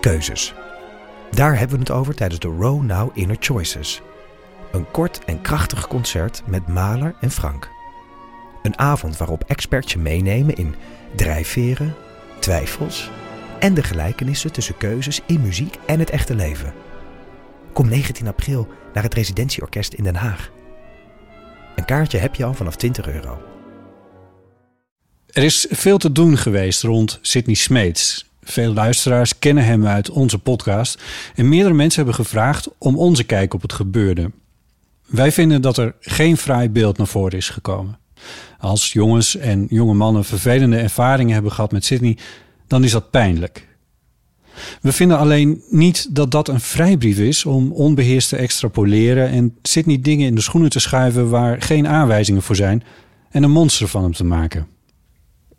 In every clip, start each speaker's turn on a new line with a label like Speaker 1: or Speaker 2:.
Speaker 1: Keuzes. Daar hebben we het over tijdens de Row Now Inner Choices. Een kort en krachtig concert met Maler en Frank. Een avond waarop experts je meenemen in drijfveren, twijfels en de gelijkenissen tussen keuzes in muziek en het echte leven. Kom 19 april naar het Residentieorkest in Den Haag. Een kaartje heb je al vanaf 20 euro.
Speaker 2: Er is veel te doen geweest rond Sidney Smeets. Veel luisteraars kennen hem uit onze podcast. En meerdere mensen hebben gevraagd om onze kijk op het gebeurde. Wij vinden dat er geen fraai beeld naar voren is gekomen. Als jongens en jonge mannen vervelende ervaringen hebben gehad met Sidney, dan is dat pijnlijk. We vinden alleen niet dat dat een vrijbrief is om onbeheerst te extrapoleren en Sidney dingen in de schoenen te schuiven waar geen aanwijzingen voor zijn en een monster van hem te maken.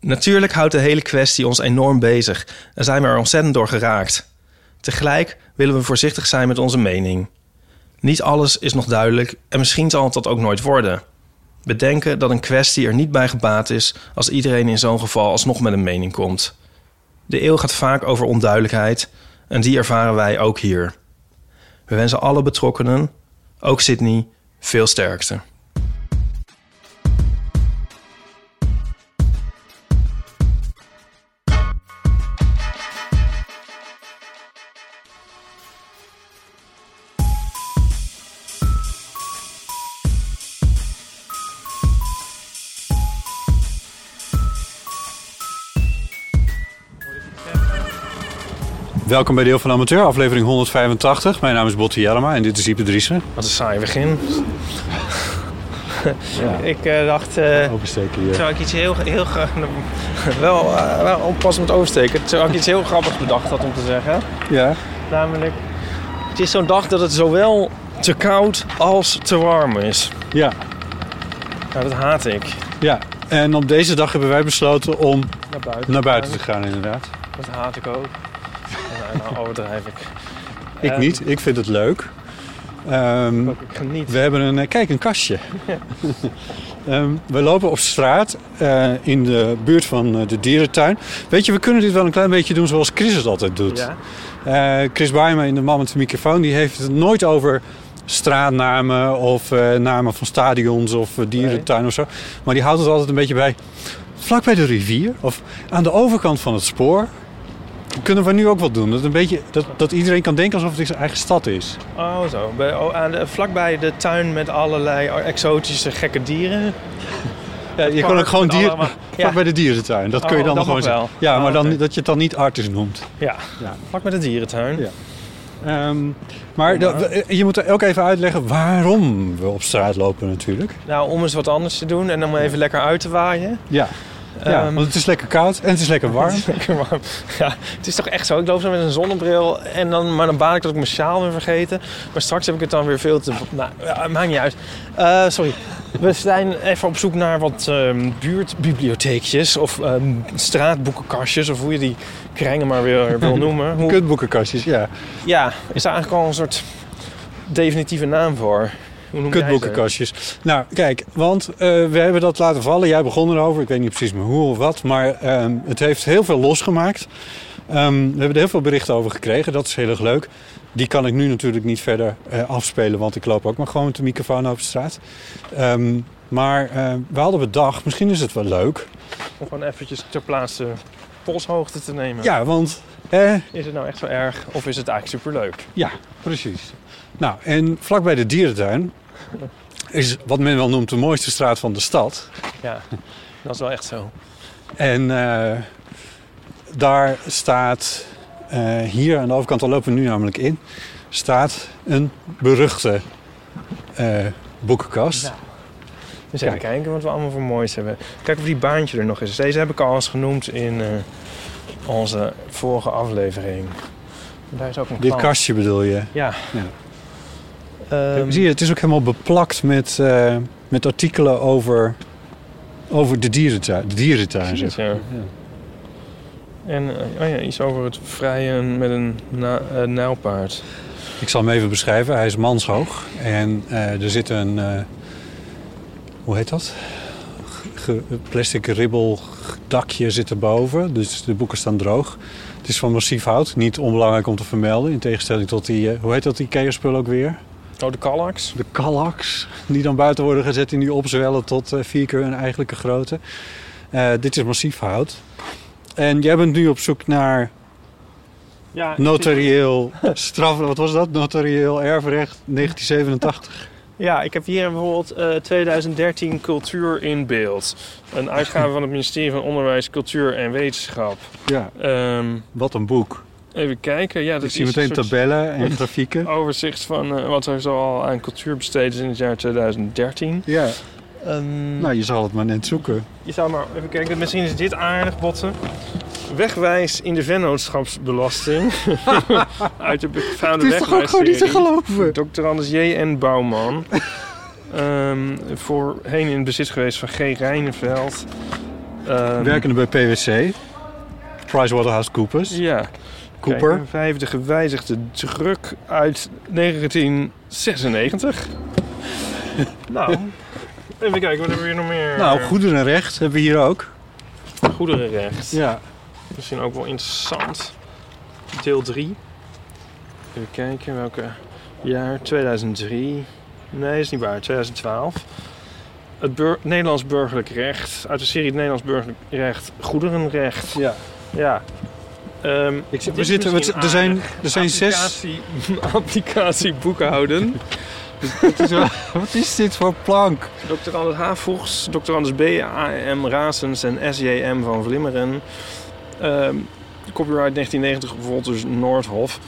Speaker 3: Natuurlijk houdt de hele kwestie ons enorm bezig en zijn we er ontzettend door geraakt. Tegelijk willen we voorzichtig zijn met onze mening. Niet alles is nog duidelijk en misschien zal het dat ook nooit worden. Bedenken dat een kwestie er niet bij gebaat is als iedereen in zo'n geval alsnog met een mening komt. De eeuw gaat vaak over onduidelijkheid en die ervaren wij ook hier. We wensen alle betrokkenen, ook Sydney, veel sterkte.
Speaker 2: Welkom bij Deel van Amateur, aflevering 185. Mijn naam is Botte Jarma en dit is Ipe Driessen.
Speaker 3: Wat een saai begin.
Speaker 2: Ja,
Speaker 3: Ik eh, dacht, eh,
Speaker 2: oversteken hier.
Speaker 3: Terwijl ik iets heel, heel gra- wel, eh, wel oppassen met oversteken. Terwijl ik iets heel grappigs bedacht had om te zeggen.
Speaker 2: Ja.
Speaker 3: Namelijk, het is zo'n dag dat het zowel te koud als te warm is.
Speaker 2: ja,
Speaker 3: Nou, dat haat ik.
Speaker 2: ja. En op deze dag hebben wij besloten om
Speaker 3: Naar buiten.
Speaker 2: naar buiten te gaan, inderdaad.
Speaker 3: Dat haat ik ook. Nou, nou overdrijf ik.
Speaker 2: Ik
Speaker 3: Ehm,
Speaker 2: niet, ik vind het leuk. Ehm,
Speaker 3: Ik geniet.
Speaker 2: we hebben een, eh, kijk, een kastje. Ehm, we lopen op straat eh, in de buurt van eh, de dierentuin. Weet je, we kunnen dit wel een klein beetje doen zoals Chris het altijd doet.
Speaker 3: Ja.
Speaker 2: Eh, Chris Baiman in de man met de microfoon, die heeft het nooit over straatnamen of eh, namen van stadions of eh, dierentuin of zo. Maar die houdt het altijd een beetje bij vlak bij de rivier of aan de overkant van het spoor. Kunnen we nu ook wat doen? Dat, een beetje, dat, dat iedereen kan denken alsof het zijn eigen stad is.
Speaker 3: Oh, zo. Bij, oh, aan de, vlakbij de tuin met allerlei exotische gekke dieren.
Speaker 2: Ja, Eh, je kan
Speaker 3: park
Speaker 2: ook gewoon
Speaker 3: met
Speaker 2: dier,
Speaker 3: allemaal-
Speaker 2: vlak
Speaker 3: Ja.
Speaker 2: bij de dierentuin. Dat kun je
Speaker 3: Oh,
Speaker 2: dan
Speaker 3: dat
Speaker 2: gewoon
Speaker 3: mag
Speaker 2: zeggen.
Speaker 3: wel.
Speaker 2: Ja,
Speaker 3: Oh,
Speaker 2: maar dan,
Speaker 3: oké.
Speaker 2: dat je het dan niet artist noemt.
Speaker 3: Ja,
Speaker 2: Ja.
Speaker 3: vlak bij de dierentuin.
Speaker 2: Ja. Ehm, maar dat- we- je moet ook even uitleggen waarom we op straat lopen natuurlijk.
Speaker 3: Nou, om eens wat anders te doen en om even lekker uit te waaien.
Speaker 2: Ja. Ja,
Speaker 3: Ehm,
Speaker 2: want het is lekker koud en het is lekker warm.
Speaker 3: Lekker warm. Ja, het is toch echt zo. Ik loop zo met een zonnebril en dan, maar dan baal ik dat ik mijn sjaal ben vergeten. Maar straks heb ik het dan weer veel te... Nou, ja, maakt niet uit. Eh, sorry. We zijn even op zoek naar wat ehm, buurtbibliotheekjes of ehm, straatboekenkastjes of hoe je die krengen maar weer eh, wil noemen. Hoe-
Speaker 2: Kutboekenkastjes, ja.
Speaker 3: ja, is daar eigenlijk al een soort definitieve naam voor? Hoe noem jij ze?
Speaker 2: Kutboekenkastjes. Nou, kijk, want eh, we hebben dat laten vallen. Jij begon erover. Ik weet niet precies meer hoe of wat. Maar ehm, het heeft heel veel losgemaakt. Ehm, we hebben er heel veel berichten over gekregen. Dat is heel erg leuk. Die kan ik nu natuurlijk niet verder eh, afspelen. Want ik loop ook maar gewoon met de microfoon over straat. Ehm, maar eh, we hadden bedacht, misschien is het wel leuk.
Speaker 3: Om gewoon eventjes ter plaatse polshoogte te nemen.
Speaker 2: Ja, want... eh,
Speaker 3: Is het nou echt zo erg of is het eigenlijk superleuk?
Speaker 2: Ja, precies. Nou, en vlakbij de dierentuin is wat men wel noemt de mooiste straat van de stad.
Speaker 3: Ja, dat is wel echt zo.
Speaker 2: En eh, daar staat, eh, hier aan de overkant, daar lopen we nu namelijk in, staat een beruchte eh, boekenkast.
Speaker 3: Nou, Dus even
Speaker 2: Kijk.
Speaker 3: kijken wat we allemaal voor moois hebben. Kijk of die baantje er nog is. Deze heb ik al eens genoemd in eh, onze vorige aflevering. Daar is ook een
Speaker 2: Dit
Speaker 3: plan.
Speaker 2: kastje bedoel je?
Speaker 3: Ja.
Speaker 2: Ja.
Speaker 3: Ehm,
Speaker 2: Zie je, het is ook helemaal beplakt met, eh, met artikelen over, over de dierentuin. De dierentuin
Speaker 3: Precies,
Speaker 2: zeg.
Speaker 3: ja. En eh, oh ja, iets over het vrijen met een na, eh, nijlpaard.
Speaker 2: Ik zal hem even beschrijven. Hij is manshoog en eh, er zit een, eh, hoe heet dat? Ge- plastic ribbel dakje zit erboven, dus de boeken staan droog. Het is van massief hout, niet onbelangrijk om te vermelden. In tegenstelling tot die, eh, hoe heet dat Ikea-spul ook weer?
Speaker 3: Oh, de kallaks.
Speaker 2: De kallaks, die dan buiten worden gezet en die opzwellen tot eh, vier keer hun eigenlijke grootte. Eh, dit is massief hout. En jij bent nu op zoek naar
Speaker 3: Ja,
Speaker 2: Notarieel straf, wat was dat? Notarieel erfrecht 1987.
Speaker 3: Ja, ik heb hier bijvoorbeeld eh, 2013 Cultuur in Beeld. Een uitgave van het ministerie van Onderwijs, Cultuur en Wetenschap.
Speaker 2: Ja,
Speaker 3: Ehm,
Speaker 2: wat een boek.
Speaker 3: even kijken. Ja, dat
Speaker 2: Ik zie
Speaker 3: is
Speaker 2: meteen
Speaker 3: een soort Oh.
Speaker 2: tabellen en grafieken.
Speaker 3: overzicht van eh, wat er zoal aan cultuur besteed is in het jaar 2013.
Speaker 2: Ja,
Speaker 3: Ehm,
Speaker 2: nou je zal het maar net zoeken.
Speaker 3: Je zou maar even kijken, misschien is dit aardig, botten. Wegwijs in de vennootschapsbelasting. Uit de befaamde
Speaker 2: geloven?
Speaker 3: Dr. Anders J.N. Bouwman. Ehm, voorheen in bezit geweest van G. Rijneveld. Ehm,
Speaker 2: Werkende bij PwC, PricewaterhouseCoopers,
Speaker 3: Ja.
Speaker 2: Cooper.
Speaker 3: Kijk, een vijfde gewijzigde druk uit 1996. nou, even kijken, wat hebben we hier nog meer?
Speaker 2: Nou, goederenrecht hebben we hier ook.
Speaker 3: Goederenrecht.
Speaker 2: Ja.
Speaker 3: Misschien ook wel interessant. Deel 3. Even kijken welke jaar. 2003. Nee, is niet waar. 2012. Het bur- Nederlands burgerlijk recht. Uit de serie het Nederlands burgerlijk recht. Goederenrecht.
Speaker 2: ja.
Speaker 3: Ja. Ehm,
Speaker 2: Ik zit,
Speaker 3: dit
Speaker 2: we
Speaker 3: is
Speaker 2: zitten, we,
Speaker 3: misschien
Speaker 2: er zijn,
Speaker 3: aardig.
Speaker 2: er zijn zes...
Speaker 3: applicatie, applicatie boekhouden.
Speaker 2: het is wel- Wat is dit voor plank?
Speaker 3: Dr. Anders H. Voegs, Dr. Anders B. A.M. Razens en S.J.M. van Vlimmeren. Ehm, copyright 1990 Wolters dus Noordhof.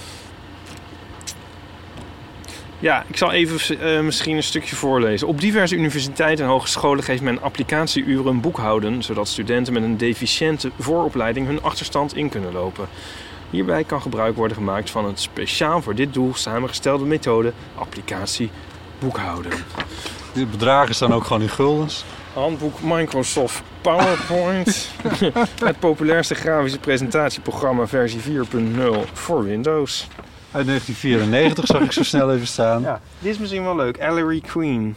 Speaker 3: Ja, ik zal even eh, misschien een stukje voorlezen. Op diverse universiteiten en hogescholen geeft men applicatieuren boekhouden, zodat studenten met een deficiënte vooropleiding hun achterstand in kunnen lopen. Hierbij kan gebruik worden gemaakt van een speciaal voor dit doel samengestelde methode applicatie boekhouden.
Speaker 2: De bedragen staan ook gewoon in guldens.
Speaker 3: Handboek Microsoft PowerPoint. het populairste grafische presentatieprogramma versie 4.0 voor Windows.
Speaker 2: Uit 1994 zag ik zo snel even staan.
Speaker 3: Ja, dit is misschien wel leuk. Ellery Queen.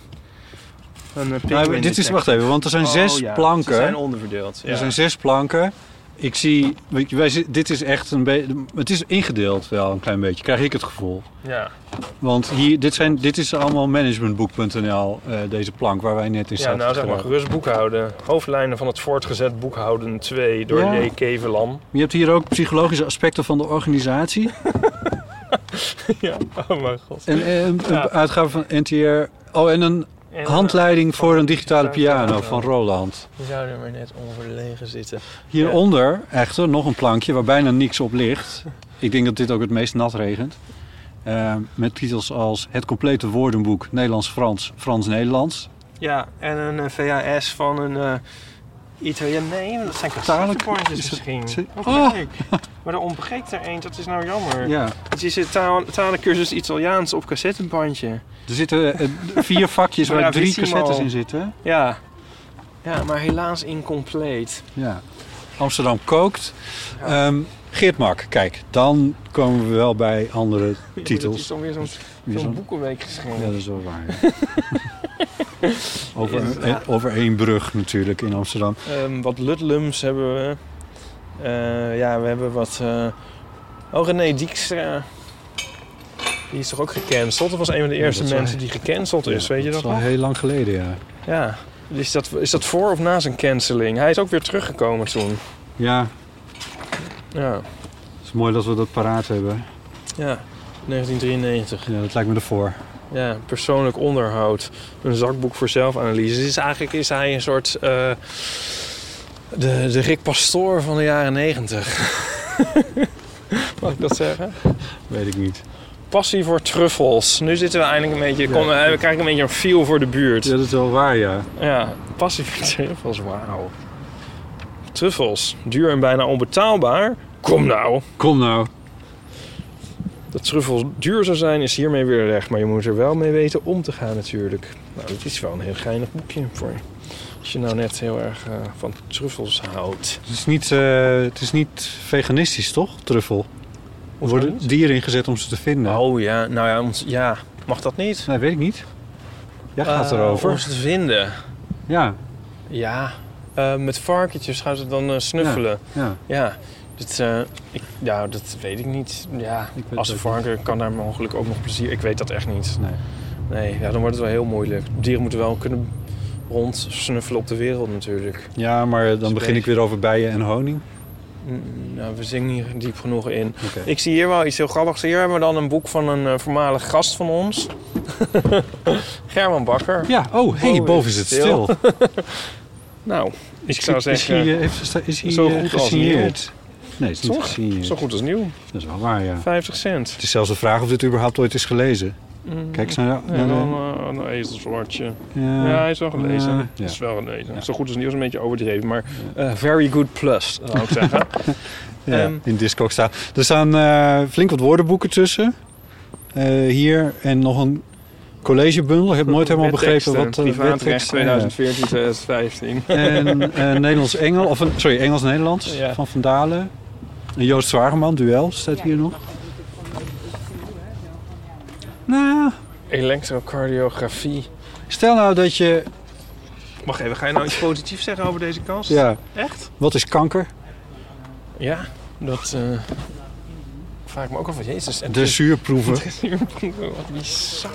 Speaker 3: Een eh,
Speaker 2: Nou,
Speaker 3: penguin
Speaker 2: dit is,
Speaker 3: detective.
Speaker 2: wacht even, want er zijn
Speaker 3: Oh,
Speaker 2: zes
Speaker 3: ja,
Speaker 2: planken.
Speaker 3: Ze zijn onderverdeeld. Ja.
Speaker 2: Er zijn zes planken. Ik zie, weet je, wij, zi- dit is echt een beetje, het is ingedeeld wel een klein beetje, krijg ik het gevoel.
Speaker 3: ja.
Speaker 2: Want hier, dit, zijn, dit is allemaal managementboek.nl, eh, deze plank waar wij net in
Speaker 3: ja,
Speaker 2: zaten.
Speaker 3: nou zeg maar
Speaker 2: geraakt.
Speaker 3: gerust boekhouden. Hoofdlijnen van het voortgezet boekhouden 2 door
Speaker 2: Ja.
Speaker 3: J. Kevelam.
Speaker 2: Je hebt hier ook psychologische aspecten van de organisatie.
Speaker 3: ja, oh mijn god.
Speaker 2: En eh, een,
Speaker 3: Ja.
Speaker 2: een uitgave van NTR. Oh, en een
Speaker 3: En, eh,
Speaker 2: handleiding voor een digitale piano van Roland.
Speaker 3: We zouden maar net onverlegen zitten.
Speaker 2: Hieronder echter nog een plankje waar bijna niks op ligt. Ik denk dat dit ook het meest nat regent. Eh, met titels als Het complete woordenboek Nederlands-Frans, Frans-Nederlands.
Speaker 3: Ja, en een eh, VHS van een eh Italiaan. Nee, dat zijn
Speaker 2: Taarlijk-
Speaker 3: cassettepointjes
Speaker 2: is het-
Speaker 3: misschien.
Speaker 2: ze-
Speaker 3: Wat
Speaker 2: Oh!
Speaker 3: leuk. Maar er ontbreekt er één, dat is nou jammer.
Speaker 2: Ja.
Speaker 3: Het is een taal, talencursus Italiaans op cassettenbandje.
Speaker 2: Er zitten eh, vier vakjes waar drie
Speaker 3: Bravissimo.
Speaker 2: cassettes in zitten.
Speaker 3: Ja. Ja, maar helaas incompleet.
Speaker 2: Ja. Amsterdam kookt. Ehm, Geert Mak, kijk, dan komen we wel bij andere
Speaker 3: Dat is
Speaker 2: titels.
Speaker 3: dan weer zo'n
Speaker 2: Wie is
Speaker 3: zo'n
Speaker 2: dat?
Speaker 3: boekenweek
Speaker 2: Ja,
Speaker 3: geschreven.
Speaker 2: dat is wel waar. ja. over, eh, over één brug natuurlijk in Amsterdam.
Speaker 3: Ehm, wat lutlums hebben we. Eh, ja, we hebben wat... eh Oh, René Dijkstra. Die is toch ook gecanceld? Dat was een van de
Speaker 2: Ja,
Speaker 3: eerste
Speaker 2: dat is wel-
Speaker 3: mensen die gecanceld is,
Speaker 2: Ja,
Speaker 3: weet je dat
Speaker 2: is al
Speaker 3: nog?
Speaker 2: heel lang geleden, ja.
Speaker 3: Ja. Is dat, is dat voor of na zijn canceling? Hij is ook weer teruggekomen toen.
Speaker 2: Ja,
Speaker 3: Ja.
Speaker 2: het is mooi dat we dat paraat hebben.
Speaker 3: Ja. 1993.
Speaker 2: Ja, dat lijkt me ervoor.
Speaker 3: Ja, persoonlijk onderhoud. Een zakboek voor zelfanalyse. Dus eigenlijk is hij een soort... eh, de, de Rick Pastoor van de jaren 90. Mag ik dat zeggen?
Speaker 2: Weet ik niet.
Speaker 3: passie voor truffels. Nu zitten we eindelijk een beetje, kom, eh, we krijgen een beetje een feel voor de buurt.
Speaker 2: Ja,
Speaker 3: Ja,
Speaker 2: dat is wel waar, ja.
Speaker 3: passie voor truffels, wauw. Truffels, duur en bijna onbetaalbaar. Kom nou.
Speaker 2: Kom nou.
Speaker 3: Dat truffels duur zou zijn is hiermee weer recht. Maar je moet er wel mee weten om te gaan natuurlijk. Nou, dit is wel een heel geinig boekje voor als je nou net heel erg eh, van truffels houdt.
Speaker 2: Het is niet, eh, het is niet veganistisch, toch? Truffel. Er worden
Speaker 3: niet?
Speaker 2: dieren ingezet om ze te vinden.
Speaker 3: Oh ja, nou ja, ons- ja. mag dat niet?
Speaker 2: Nee, weet ik niet. Jij gaat
Speaker 3: Eh,
Speaker 2: erover.
Speaker 3: Om ze te vinden.
Speaker 2: Ja,
Speaker 3: Ja, eh, met varkentjes gaan ze dan eh, snuffelen.
Speaker 2: ja.
Speaker 3: Ja, dat, eh, ik, ja, dat weet ik niet. Ja,
Speaker 2: Ik weet
Speaker 3: als
Speaker 2: het ook
Speaker 3: varken kan daar mogelijk ook nog plezier. Ik weet dat echt niet.
Speaker 2: Nee.
Speaker 3: Nee, ja, dan wordt het wel heel moeilijk. Dieren moeten wel kunnen rondsnuffelen op de wereld natuurlijk.
Speaker 2: ja, maar dan
Speaker 3: Een
Speaker 2: begin ik
Speaker 3: beetje-
Speaker 2: weer over bijen en honing.
Speaker 3: Mm, Nou, we zingen hier diep genoeg in.
Speaker 2: Oké.
Speaker 3: Ik zie hier wel iets heel grappigs. Hier hebben we dan een boek van een eh, voormalig gast van ons. German Bakker.
Speaker 2: Ja, oh, hey,
Speaker 3: Oh, is
Speaker 2: boven is het stil.
Speaker 3: stil. Nou, ik zou
Speaker 2: Is-
Speaker 3: zeggen,
Speaker 2: Is hij, eh, heeft- is hij, is hij
Speaker 3: zo
Speaker 2: eh,
Speaker 3: goed als
Speaker 2: gesigneerd? Nee, het is niet
Speaker 3: Toch?
Speaker 2: gesigneerd.
Speaker 3: zo goed als nieuw.
Speaker 2: Dat is wel waar, ja.
Speaker 3: 50 cent.
Speaker 2: Het is zelfs de vraag of dit überhaupt ooit is gelezen.
Speaker 3: Mm,
Speaker 2: Kijk eens naar de... naar
Speaker 3: En
Speaker 2: de-
Speaker 3: dan eh, een ezelswartje.
Speaker 2: ja.
Speaker 3: Ja, hij is wel gelezen.
Speaker 2: Ja.
Speaker 3: Het is wel gelezen.
Speaker 2: Ja.
Speaker 3: Zo goed als nieuws, een beetje overdreven. Maar eh, very good plus, zou ik zeggen.
Speaker 2: Ja,
Speaker 3: Ehm.
Speaker 2: in Discog staan. Er staan eh, flink wat woordenboeken tussen. Eh, hier en nog een collegebundel. Ik heb nooit helemaal begrepen
Speaker 3: Wetteksten,
Speaker 2: wat eh,
Speaker 3: Privaatrecht
Speaker 2: wetteksten-
Speaker 3: 2014, 2015.
Speaker 2: ja. En eh, Nederlands-Engels, of een- sorry, Engels-Nederlands
Speaker 3: Ja.
Speaker 2: van Van Dalen. En Joost Zwageman, duel, staat hier nog. Nou,
Speaker 3: Elektrocardiografie.
Speaker 2: stel nou dat je...
Speaker 3: Wacht even, ga je nou iets positiefs zeggen over deze kans?
Speaker 2: Ja,
Speaker 3: Echt?
Speaker 2: wat is kanker?
Speaker 3: Ja, dat eh, vraag ik me ook af. Jezus, en
Speaker 2: De zuurproeven.
Speaker 3: Wat bizar.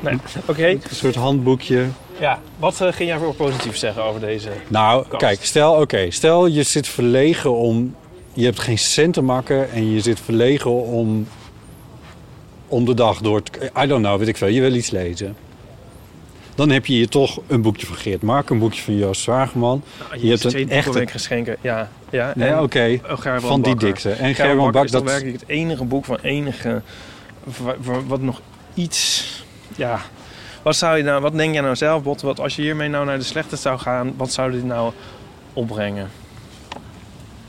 Speaker 3: Nee, oké.
Speaker 2: Een soort handboekje.
Speaker 3: Ja, wat eh, ging jij voor positief zeggen over deze?
Speaker 2: Nou,
Speaker 3: Kast.
Speaker 2: kijk, stel, oké, stel je zit verlegen om. Je hebt geen cent te makken en je zit verlegen om. om de dag door te. I don't know, weet ik veel. Je wil iets lezen. Dan heb je hier toch een boekje van Geert Mark, een boekje van Joost Zwageman.
Speaker 3: Nou,
Speaker 2: Je hebt een
Speaker 3: twee
Speaker 2: echte-
Speaker 3: boekenweek geschenken. Ja, ja.
Speaker 2: Nee,
Speaker 3: en-
Speaker 2: oké.
Speaker 3: Oh, Gerbrand
Speaker 2: Van die
Speaker 3: Bakker.
Speaker 2: dikte. En Gerbrand
Speaker 3: Gerbrand
Speaker 2: Bak,
Speaker 3: is toch
Speaker 2: dat.
Speaker 3: werkelijk het enige boek van enige wa- wa- wat nog iets. Ja. Wat zou je nou? Wat denk jij nou zelf, Bot? Wat als je hiermee nou naar de slechte zou gaan? Wat zou dit nou opbrengen?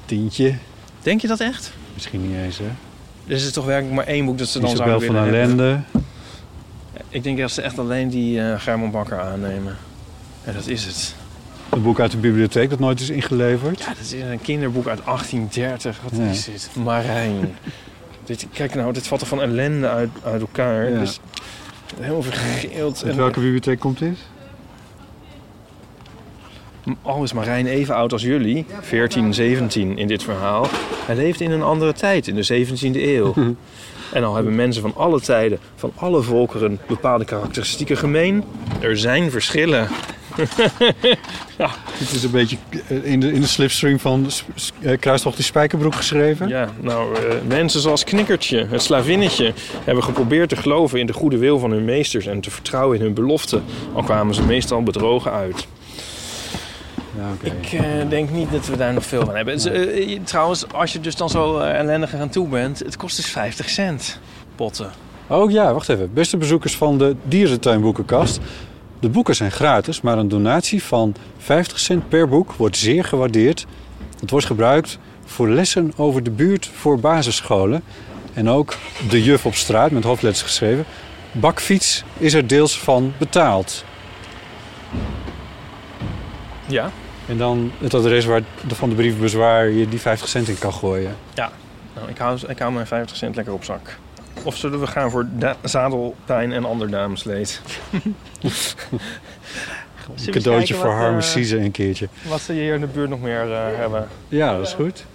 Speaker 2: tientje.
Speaker 3: Denk je dat echt?
Speaker 2: Misschien niet eens, hè?
Speaker 3: Er is toch werkelijk maar één boek dat ze dan
Speaker 2: Isabel
Speaker 3: zouden
Speaker 2: van
Speaker 3: willen hebben.
Speaker 2: Allende.
Speaker 3: Ik denk dat ze echt alleen die eh German Bakker aannemen. Ja, dat is het.
Speaker 2: Een boek uit de bibliotheek dat nooit is ingeleverd.
Speaker 3: Ja, dat is een kinderboek uit 1830. Wat
Speaker 2: Ja.
Speaker 3: is dit? Marijn. dit, kijk nou, dit valt er van ellende uit, uit elkaar.
Speaker 2: Ja.
Speaker 3: Dus helemaal vergeeld.
Speaker 2: Uit
Speaker 3: En-
Speaker 2: welke bibliotheek komt dit?
Speaker 3: Al is Marijn even oud als jullie, 14, 17 in dit verhaal. Hij leeft in een andere tijd, in de 17e eeuw. en al hebben mensen van alle tijden, van alle volkeren, bepaalde karakteristieken gemeen. Er zijn verschillen.
Speaker 2: Dit is een beetje eh, in de, in de slipstream van S- S- eh, Kruistocht in Spijkerbroek geschreven.
Speaker 3: Ja, nou, eh, mensen zoals Knikkertje, het slavinnetje, hebben geprobeerd te geloven in de goede wil van hun meesters en te vertrouwen in hun beloften. Al kwamen ze meestal bedrogen uit.
Speaker 2: Ja, oké.
Speaker 3: Ik eh, denk niet dat we daar nog veel van hebben. Het is, eh, je- trouwens, als je dus dan zo eh, ellendig aan toe bent, het kost dus 50 cent. Potten.
Speaker 2: Oh ja, wacht even. Beste bezoekers van de Dierentuinboekenkast. De boeken zijn gratis, maar een donatie van 50 cent per boek wordt zeer gewaardeerd. Het wordt gebruikt voor lessen over de buurt voor basisscholen. En ook de juf op straat, met hoofdletters geschreven. Bakfiets is er deels van betaald.
Speaker 3: Ja.
Speaker 2: En dan het adres waar, van de brievenbus waar je die 50 cent in kan gooien.
Speaker 3: Nou, ik hou, ik hou mijn 50 cent lekker op zak. Of zullen we gaan voor da- zadelpijn en ander damesleed?
Speaker 2: Een cadeautje voor Harm
Speaker 3: Harmony.
Speaker 2: Sieze een keertje.
Speaker 3: Wat ze hier in de buurt nog meer eh, hebben.
Speaker 2: Ja, dat is goed.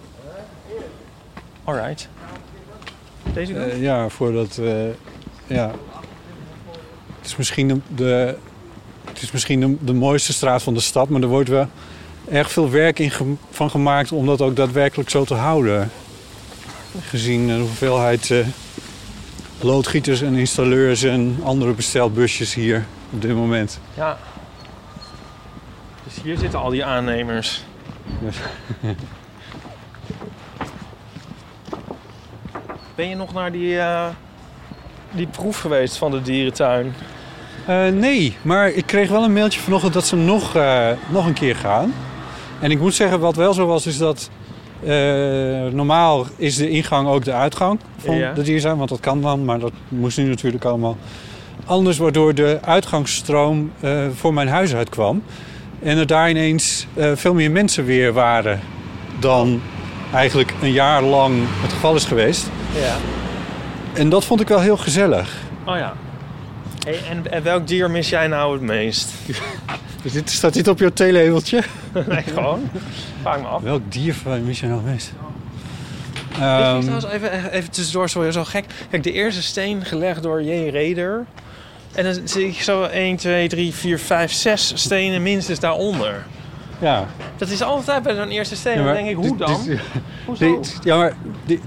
Speaker 3: Alright. Deze kant?
Speaker 2: Eh, ja, voordat. eh, ja. Het is misschien, de, de, het is misschien de, de mooiste straat van de stad, maar er wordt wel erg veel werk in ge- van gemaakt om dat ook daadwerkelijk zo te houden. Gezien de hoeveelheid eh, loodgieters en installeurs en andere bestelbusjes hier op dit moment.
Speaker 3: Ja. Dus hier zitten al die aannemers.
Speaker 2: Ja.
Speaker 3: ben je nog naar die, eh, die proef geweest van de dierentuin?
Speaker 2: Eh, nee, maar ik kreeg wel een mailtje vanochtend dat ze nog, eh, nog een keer gaan. En ik moet zeggen, wat wel zo was, is dat Eh, normaal is de ingang ook de uitgang van
Speaker 3: Ja.
Speaker 2: de dierzaam, want dat kan dan, maar dat moest nu natuurlijk allemaal anders, waardoor de uitgangsstroom eh, voor mijn huis uitkwam. En er daar ineens eh, veel meer mensen weer waren dan eigenlijk een jaar lang het geval is geweest.
Speaker 3: Ja.
Speaker 2: En dat vond ik wel heel gezellig.
Speaker 3: Oh ja. Hey, en, en welk dier mis jij nou het meest?
Speaker 2: Dus dit, staat dit op jouw theelabeltje?
Speaker 3: nee, gewoon. Vraag me af.
Speaker 2: Welk dier van mis je nou het meest?
Speaker 3: Dit
Speaker 2: Ehm,
Speaker 3: ging trouwens even, even tussendoor, sorry, zo gek. Kijk, de eerste steen gelegd door J. Reder. En dan zie ik zo 1, 2, 3, 4, 5, 6 stenen minstens daaronder.
Speaker 2: ja.
Speaker 3: Dat is altijd bij zo'n eerste steen.
Speaker 2: Ja, maar dus
Speaker 3: dan denk ik, hoe
Speaker 2: dit-
Speaker 3: dan?
Speaker 2: dit-
Speaker 3: Hoezo?
Speaker 2: dit- ja, maar... dit-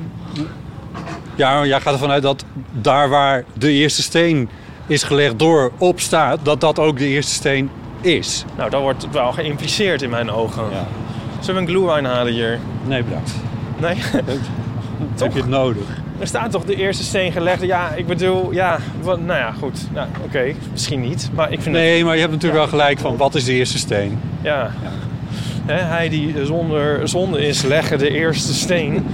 Speaker 2: ja, maar jij gaat ervan uit dat daar waar de eerste steen is gelegd door op staat... dat dat ook de eerste steen is.
Speaker 3: Nou, dat wordt wel geïmpliceerd in mijn ogen.
Speaker 2: Ja.
Speaker 3: Zullen we een glue wine halen hier?
Speaker 2: Nee, bedankt.
Speaker 3: Nee?
Speaker 2: Heb je het nodig?
Speaker 3: er staat toch de eerste steen gelegd? Ja, ik bedoel, ja, wat, nou ja, goed. Nou, Oké, misschien niet, maar ik vind het...
Speaker 2: Nee, maar je hebt natuurlijk wel gelijk van wat is de eerste steen?
Speaker 3: Ja. Hè, hij die zonder zonde is, legge de eerste steen.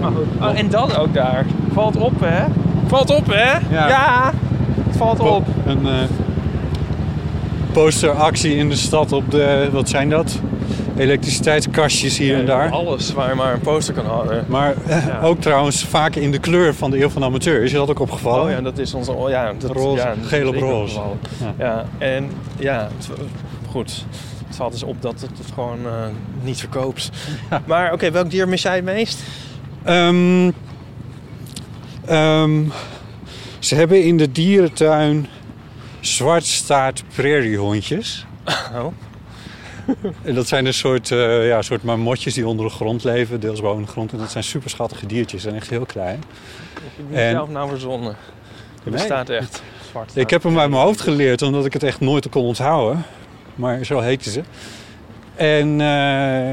Speaker 3: Maar goed. Oh, en dan ook daar. Valt op, hè? Valt op, hè?
Speaker 2: Ja.
Speaker 3: het valt op.
Speaker 2: Een eh, posteractie in de stad op de... Wat zijn dat? Elektriciteitskastjes hier en daar.
Speaker 3: Alles waar je maar een poster kan hangen.
Speaker 2: Maar eh,
Speaker 3: Ja.
Speaker 2: ook trouwens vaak in de kleur van de Eeuw van de Amateur. Is je dat ook opgevallen?
Speaker 3: Oh ja, dat is onze... oh, ja, dat,
Speaker 2: Roze,
Speaker 3: ja, dat
Speaker 2: geel
Speaker 3: is
Speaker 2: op
Speaker 3: ik
Speaker 2: roze.
Speaker 3: opgevallen.
Speaker 2: Ja.
Speaker 3: Ja. en ja, het- goed. Het valt dus op dat het, het gewoon eh, niet verkoopt. Maar oké, welk dier mis jij het meest?
Speaker 2: Ehm, ehm, ze hebben in de dierentuin zwartstaart prairiehondjes.
Speaker 3: Oh.
Speaker 2: En dat zijn een soort, eh, ja, soort marmotjes die onder de grond leven, deels boven de grond. En dat zijn super schattige diertjes en echt heel klein.
Speaker 3: Ik heb
Speaker 2: En-
Speaker 3: zelf nou verzonnen. Er
Speaker 2: Nee.
Speaker 3: bestaat echt zwart.
Speaker 2: Ik heb hem uit mijn hoofd geleerd omdat ik het echt nooit kon onthouden. Maar zo heette ze. En eh,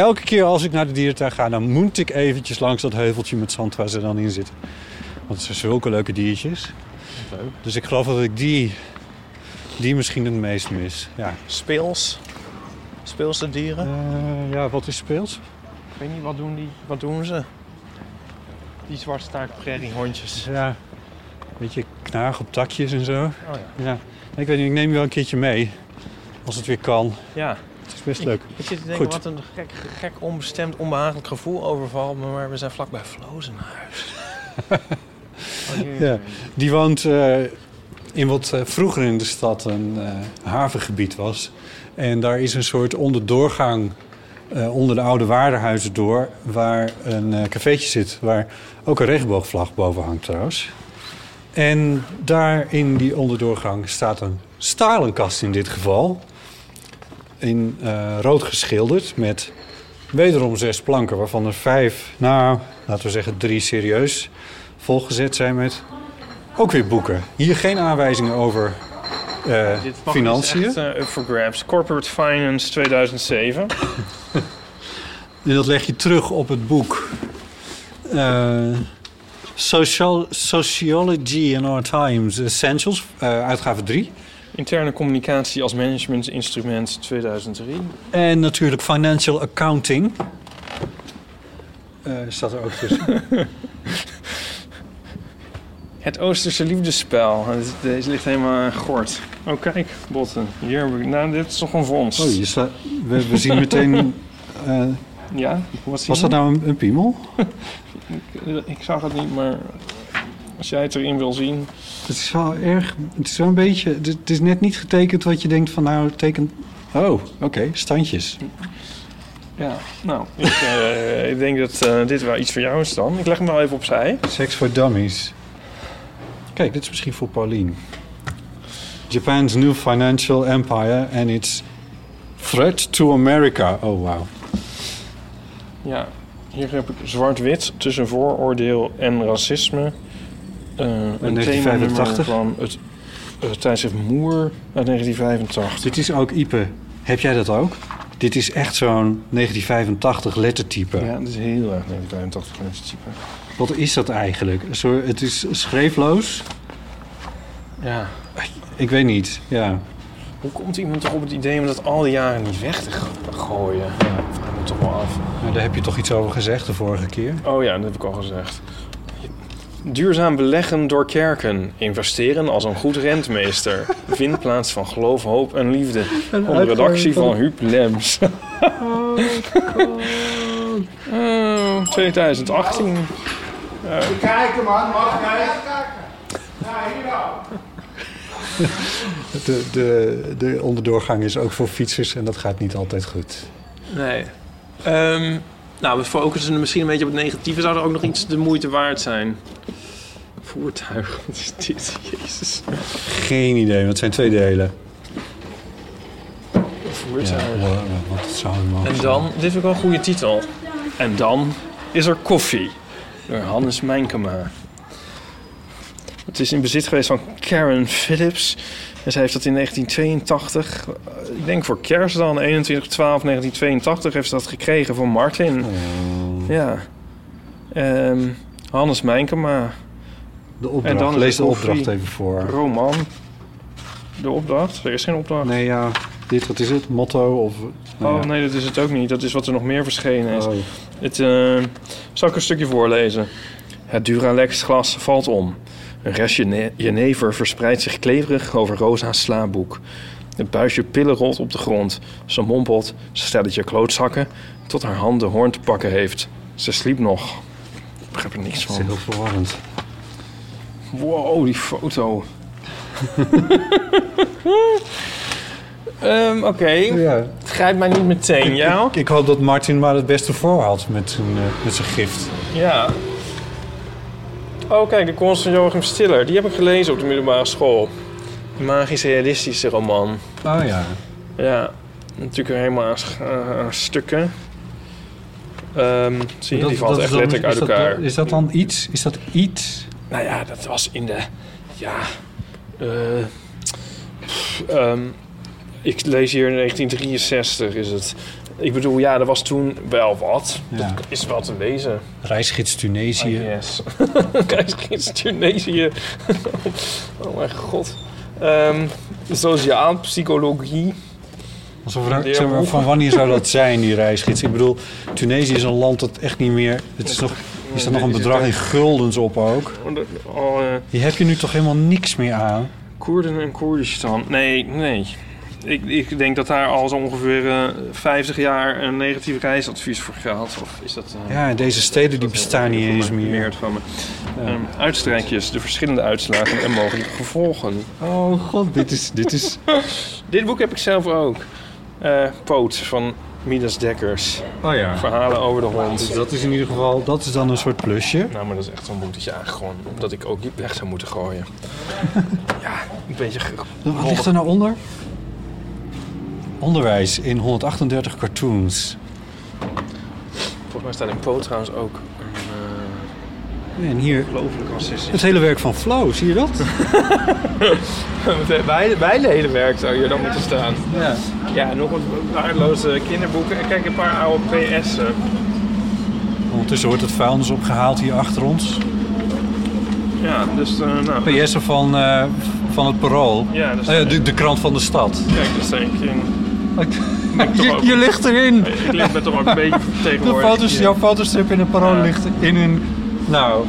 Speaker 2: elke keer als ik naar de dierentuin ga, dan moet ik eventjes langs dat heuveltje met zand waar ze dan in zitten. Want het zijn zulke leuke diertjes.
Speaker 3: Leuk.
Speaker 2: Dus ik geloof dat ik die, die misschien het meest mis. Ja,
Speaker 3: Speels. Speelse dieren.
Speaker 2: Eh, ja wat is speels?
Speaker 3: Ik weet niet, wat doen die? Wat doen ze? Die zwartstaart prairiehondjes.
Speaker 2: Ja, een beetje knaag op takjes en zo.
Speaker 3: Oh ja.
Speaker 2: Ja. Ik weet niet, ik neem je wel een keertje mee. Als het weer kan.
Speaker 3: Ja.
Speaker 2: Het is best leuk.
Speaker 3: Ik zit te denken,
Speaker 2: Goed.
Speaker 3: wat een gek, gek onbestemd, onbehagelijk gevoel overvalt me. Maar we zijn vlakbij Flozenhuis. oh, jee.
Speaker 2: Ja. Die woont eh, in wat eh, vroeger in de stad een eh, havengebied was. En daar is een soort onderdoorgang eh, onder de oude waardenhuizen door... waar een eh cafeetje zit, waar ook een regenboogvlag boven hangt trouwens. En daar in die onderdoorgang staat een stalenkast in dit geval. In eh, rood geschilderd met wederom zes planken... waarvan er vijf, nou, laten we zeggen drie serieus volgezet zijn met ook weer boeken. Hier geen aanwijzingen over eh,
Speaker 3: Dit vak is
Speaker 2: financiën.
Speaker 3: echt, eh, up for grabs. Corporate Finance 2007.
Speaker 2: En dat leg je terug op het boek. eh, Social, Sociology in Our Times Essentials, eh, uitgave 3.
Speaker 3: Interne communicatie als managementinstrument 2003.
Speaker 2: En natuurlijk Financial Accounting. Eh, staat er ook tussen.
Speaker 3: Het Oosterse liefdesspel. Het- Deze ligt helemaal aan gort. Oh, kijk, botten. Hier heb ik... Nou, dit is toch een vondst.
Speaker 2: Oh, je sla- we, we zien meteen... eh,
Speaker 3: Ja, wat zie
Speaker 2: was
Speaker 3: je?
Speaker 2: dat nou een, een piemel?
Speaker 3: Ik- Ik zag het niet, maar als jij het erin wil zien...
Speaker 2: Het is wel erg... Het is wel een beetje... Het, het is net niet getekend wat je denkt van nou, teken... Oh, oké, standjes.
Speaker 3: Ja, nou, ik, eh, ik denk dat eh, dit wel iets voor jou is dan. Ik leg hem wel even opzij.
Speaker 2: Sex for Dummies. Kijk, dit is misschien voor Pauline. Japan's new financial empire and its threat to America. Oh, wow.
Speaker 3: Ja, hier heb ik zwart-wit tussen vooroordeel en racisme. Eh een
Speaker 2: 1985.
Speaker 3: themanummer van het eh, tijdschrift Moer uit 1985.
Speaker 2: Dit is ook Ipe. Heb jij dat ook? Dit is echt zo'n 1985 lettertype.
Speaker 3: Ja, dat is heel erg 1985 mensen type.
Speaker 2: Wat is dat eigenlijk? Een soort- het is schreefloos?
Speaker 3: Ja.
Speaker 2: Ik weet niet, ja.
Speaker 3: Hoe komt iemand toch op het idee om dat al die jaren niet weg te go- gooien? Ja. nog wel af.
Speaker 2: Nou, daar heb je toch iets over gezegd de vorige keer?
Speaker 3: Oh ja, dat heb ik al gezegd. Duurzaam beleggen door kerken. Investeren als een goed rentmeester. Vindplaats van geloof, hoop en liefde. Onder redactie van Huub Lems. Oh, 2018.
Speaker 4: Kijken man, mag kijken.
Speaker 2: De, de, de onderdoorgang is ook voor fietsers en dat gaat niet altijd goed.
Speaker 3: Nee. Ehm nou, we focussen misschien een beetje op het negatieve. Zou er ook nog iets de moeite waard zijn? Voertuig, wat is dit? Jezus.
Speaker 2: Geen idee, want het zijn twee delen.
Speaker 3: Voertuig.
Speaker 2: wat zou het mogen
Speaker 3: En
Speaker 2: zijn?
Speaker 3: dan, dit vind ik wel een goede titel. En dan is er koffie. Door Hannes Mijnkema. Het is in bezit geweest van Karen Phillips. En zij heeft dat in 1982, eh, ik denk voor kerst dan, 21-12-1982, heeft ze dat gekregen van Martin.
Speaker 2: Oh.
Speaker 3: Ja. Ehm, Hannes Mijnkema,
Speaker 2: De opdracht.
Speaker 3: en dan is
Speaker 2: Lees de
Speaker 3: de koffie.
Speaker 2: opdracht even voor.
Speaker 3: roman. De opdracht? Er is geen opdracht.
Speaker 2: Nee, ja. Dit, wat is het? Motto? Of, nou
Speaker 3: Oh
Speaker 2: ja.
Speaker 3: nee, dat is het ook niet. Dat is wat er nog meer verschenen is.
Speaker 2: Oh.
Speaker 3: Het, eh, zal ik een stukje voorlezen? Het Duralex-glas valt om. Een restje ne- jenever verspreidt zich kleverig over Rosa's slaapboek. Het buisje pillen rolt op de grond. Ze mompelt, ze stelletje klootzakken, tot haar hand de hoorn te pakken heeft. Ze sliep nog. Ik begrijp er niks
Speaker 2: Dat is
Speaker 3: van.
Speaker 2: heel verwarrend.
Speaker 3: Wow, die foto. Ehm, Oké,
Speaker 2: Ja.
Speaker 3: het grijpt mij niet meteen, jou?
Speaker 2: Ik, ik hoop dat Martin maar het beste voorhoudt met zijn, eh, met zijn gift.
Speaker 3: Ja. Oh, kijk, de konst van Joachim Stiller. Die heb ik gelezen op de middelbare school. Magisch-realistische roman.
Speaker 2: Oh ja.
Speaker 3: Ja, natuurlijk helemaal aan, s- eh, aan stukken. Ehm, zie je, die valt
Speaker 2: is
Speaker 3: echt
Speaker 2: dan-
Speaker 3: letterlijk uit
Speaker 2: is dat-
Speaker 3: elkaar.
Speaker 2: is dat dan iets? Is dat iets?
Speaker 3: Nou ja, dat was in de... Ja... eh, pff, ehm, ik lees hier in 1963 is het. Ik bedoel, ja, er was toen wel wat.
Speaker 2: Ja. Oh,
Speaker 3: Is wel te lezen.
Speaker 2: Reisgids Tunesië.
Speaker 3: Ah, Yes. Kijk, schiet Tunesië. oh mijn god. Ehm sociaal psychologie.
Speaker 2: Alsof we dan-
Speaker 3: Leer
Speaker 2: zeg maar,
Speaker 3: hoe.
Speaker 2: van wanneer zou dat zijn, die reisgids? Ik bedoel, Tunesië is een land dat echt niet meer... Het is toch, is er nog een bedrag in guldens op ook?
Speaker 3: Oh, eh,
Speaker 2: Hier heb je nu toch helemaal niks meer aan?
Speaker 3: Koerden en Koerdistan. Nee, nee. Ik, ik denk dat daar al zo ongeveer eh, 50 jaar een negatief reisadvies voor geldt. Of is dat... eh,
Speaker 2: Ja, deze steden die
Speaker 3: dat
Speaker 2: bestaan
Speaker 3: heel
Speaker 2: niet eens
Speaker 3: geïnformeerd
Speaker 2: meer.
Speaker 3: Van me. Ehm, uitstrijkjes, de verschillende uitslagen en mogelijke gevolgen.
Speaker 2: Oh god, dit is... Dit is...
Speaker 3: Dit boek heb ik zelf ook. Eh, Poot van Midas Dekkers.
Speaker 2: Oh ja.
Speaker 3: Verhalen over de hond.
Speaker 2: Dus dat is in ieder geval... Dat is dan een soort plusje.
Speaker 3: Nou, maar dat is echt zo'n boek dat je eigenlijk gewoon... dat ik ook niet weg zou moeten gooien. ja, een beetje... ge-
Speaker 2: Wat ligt er nou onder? Onderwijs in 138 cartoons.
Speaker 3: Volgens mij staat in Poe trouwens ook... een
Speaker 2: En hier...
Speaker 3: ongelooflijk racistisch.
Speaker 2: Het hele werk van Flow, zie je dat?
Speaker 3: eh, bij, bij de hele werk zou je dan moeten staan.
Speaker 2: Ja.
Speaker 3: Ja, nog wat waardeloze kinderboeken. En kijk, een paar oude eh. PS'en.
Speaker 2: Ondertussen wordt het vuilnis opgehaald hier achter ons.
Speaker 3: Ja, dus eh, nou...
Speaker 2: PS'en van, eh, van het Parool.
Speaker 3: Ja, dat is-
Speaker 2: Eh, de, de krant van de stad.
Speaker 3: Kijk, dus denk ik...
Speaker 2: je, je ligt erin.
Speaker 3: Ik liep met toch ook een beetje
Speaker 2: De
Speaker 3: vertegenwoordigd.
Speaker 2: foto's,
Speaker 3: hier.
Speaker 2: jouw fotostrip in het Parool
Speaker 3: Ja.
Speaker 2: ligt in een... dus Nou,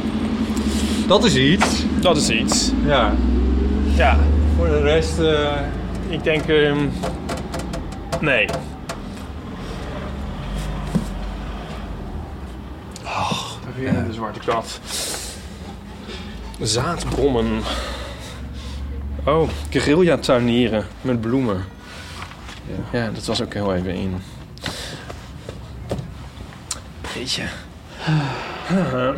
Speaker 2: dat is iets.
Speaker 3: Dat is iets.
Speaker 2: Ja.
Speaker 3: Ja,
Speaker 2: Voor de rest... eh,
Speaker 3: ik denk... ehm, nee. Weer de zwarte kat. Zaadbommen. Oh, guerrilla tuinieren met bloemen. Ja. dat was ook heel even in. Beetje.
Speaker 2: Ah.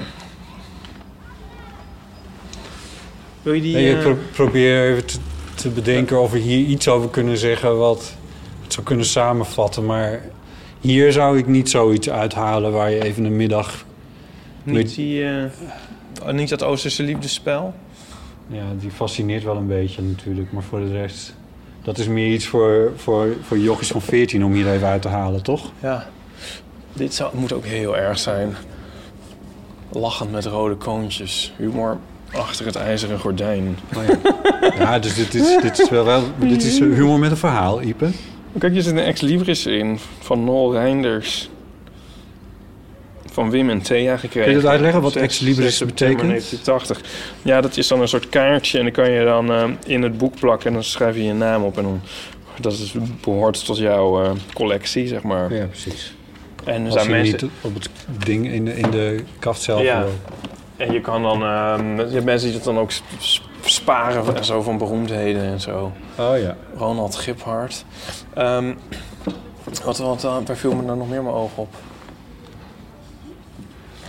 Speaker 3: Wil je die...
Speaker 2: nee, ik
Speaker 3: eh,
Speaker 2: pro- probeer even te, te bedenken of we hier iets over kunnen zeggen wat het zou kunnen samenvatten. Maar hier zou ik niet zoiets uithalen waar je even een middag...
Speaker 3: Niet, die, eh, niet dat Oosterse liefdespel?
Speaker 2: Ja, die fascineert wel een beetje natuurlijk, maar voor de rest... Dat is meer iets voor, voor, voor jochies van 14 om hier even uit te halen, toch?
Speaker 3: Ja. Dit zou, moet ook heel erg zijn. Lachend met rode koontjes. Humor achter het ijzeren gordijn.
Speaker 2: Oh, Ja, dus dit is, dit is wel, wel dit is humor met een verhaal, Ipe.
Speaker 3: Kijk, je zit een ex-libris in van Nol Reinders.
Speaker 5: van Wim en Thea gekregen.
Speaker 2: Kun je dat uitleggen, wat
Speaker 5: Zes-
Speaker 2: ex libris
Speaker 5: 6 september
Speaker 2: betekent?
Speaker 5: 1980. Ja, dat is dan een soort kaartje en dan kan je dan eh, in het boek plakken en dan schrijf je je naam op en dan dat is, behoort tot jouw eh, collectie, zeg maar.
Speaker 2: Ja, precies.
Speaker 5: En er
Speaker 2: Als
Speaker 5: zijn
Speaker 2: je
Speaker 5: mensen,
Speaker 2: niet op het ding in de, in de kaft zelf
Speaker 5: Ja.
Speaker 2: wil.
Speaker 5: en je kan dan, ehm, je hebt mensen die dat dan ook sp- sp- sparen van- en zo van beroemdheden en zo.
Speaker 2: Oh ja.
Speaker 5: Ronald Giphart. Ehm, wat, wat, eh, waar viel me nou nog meer mijn oog op?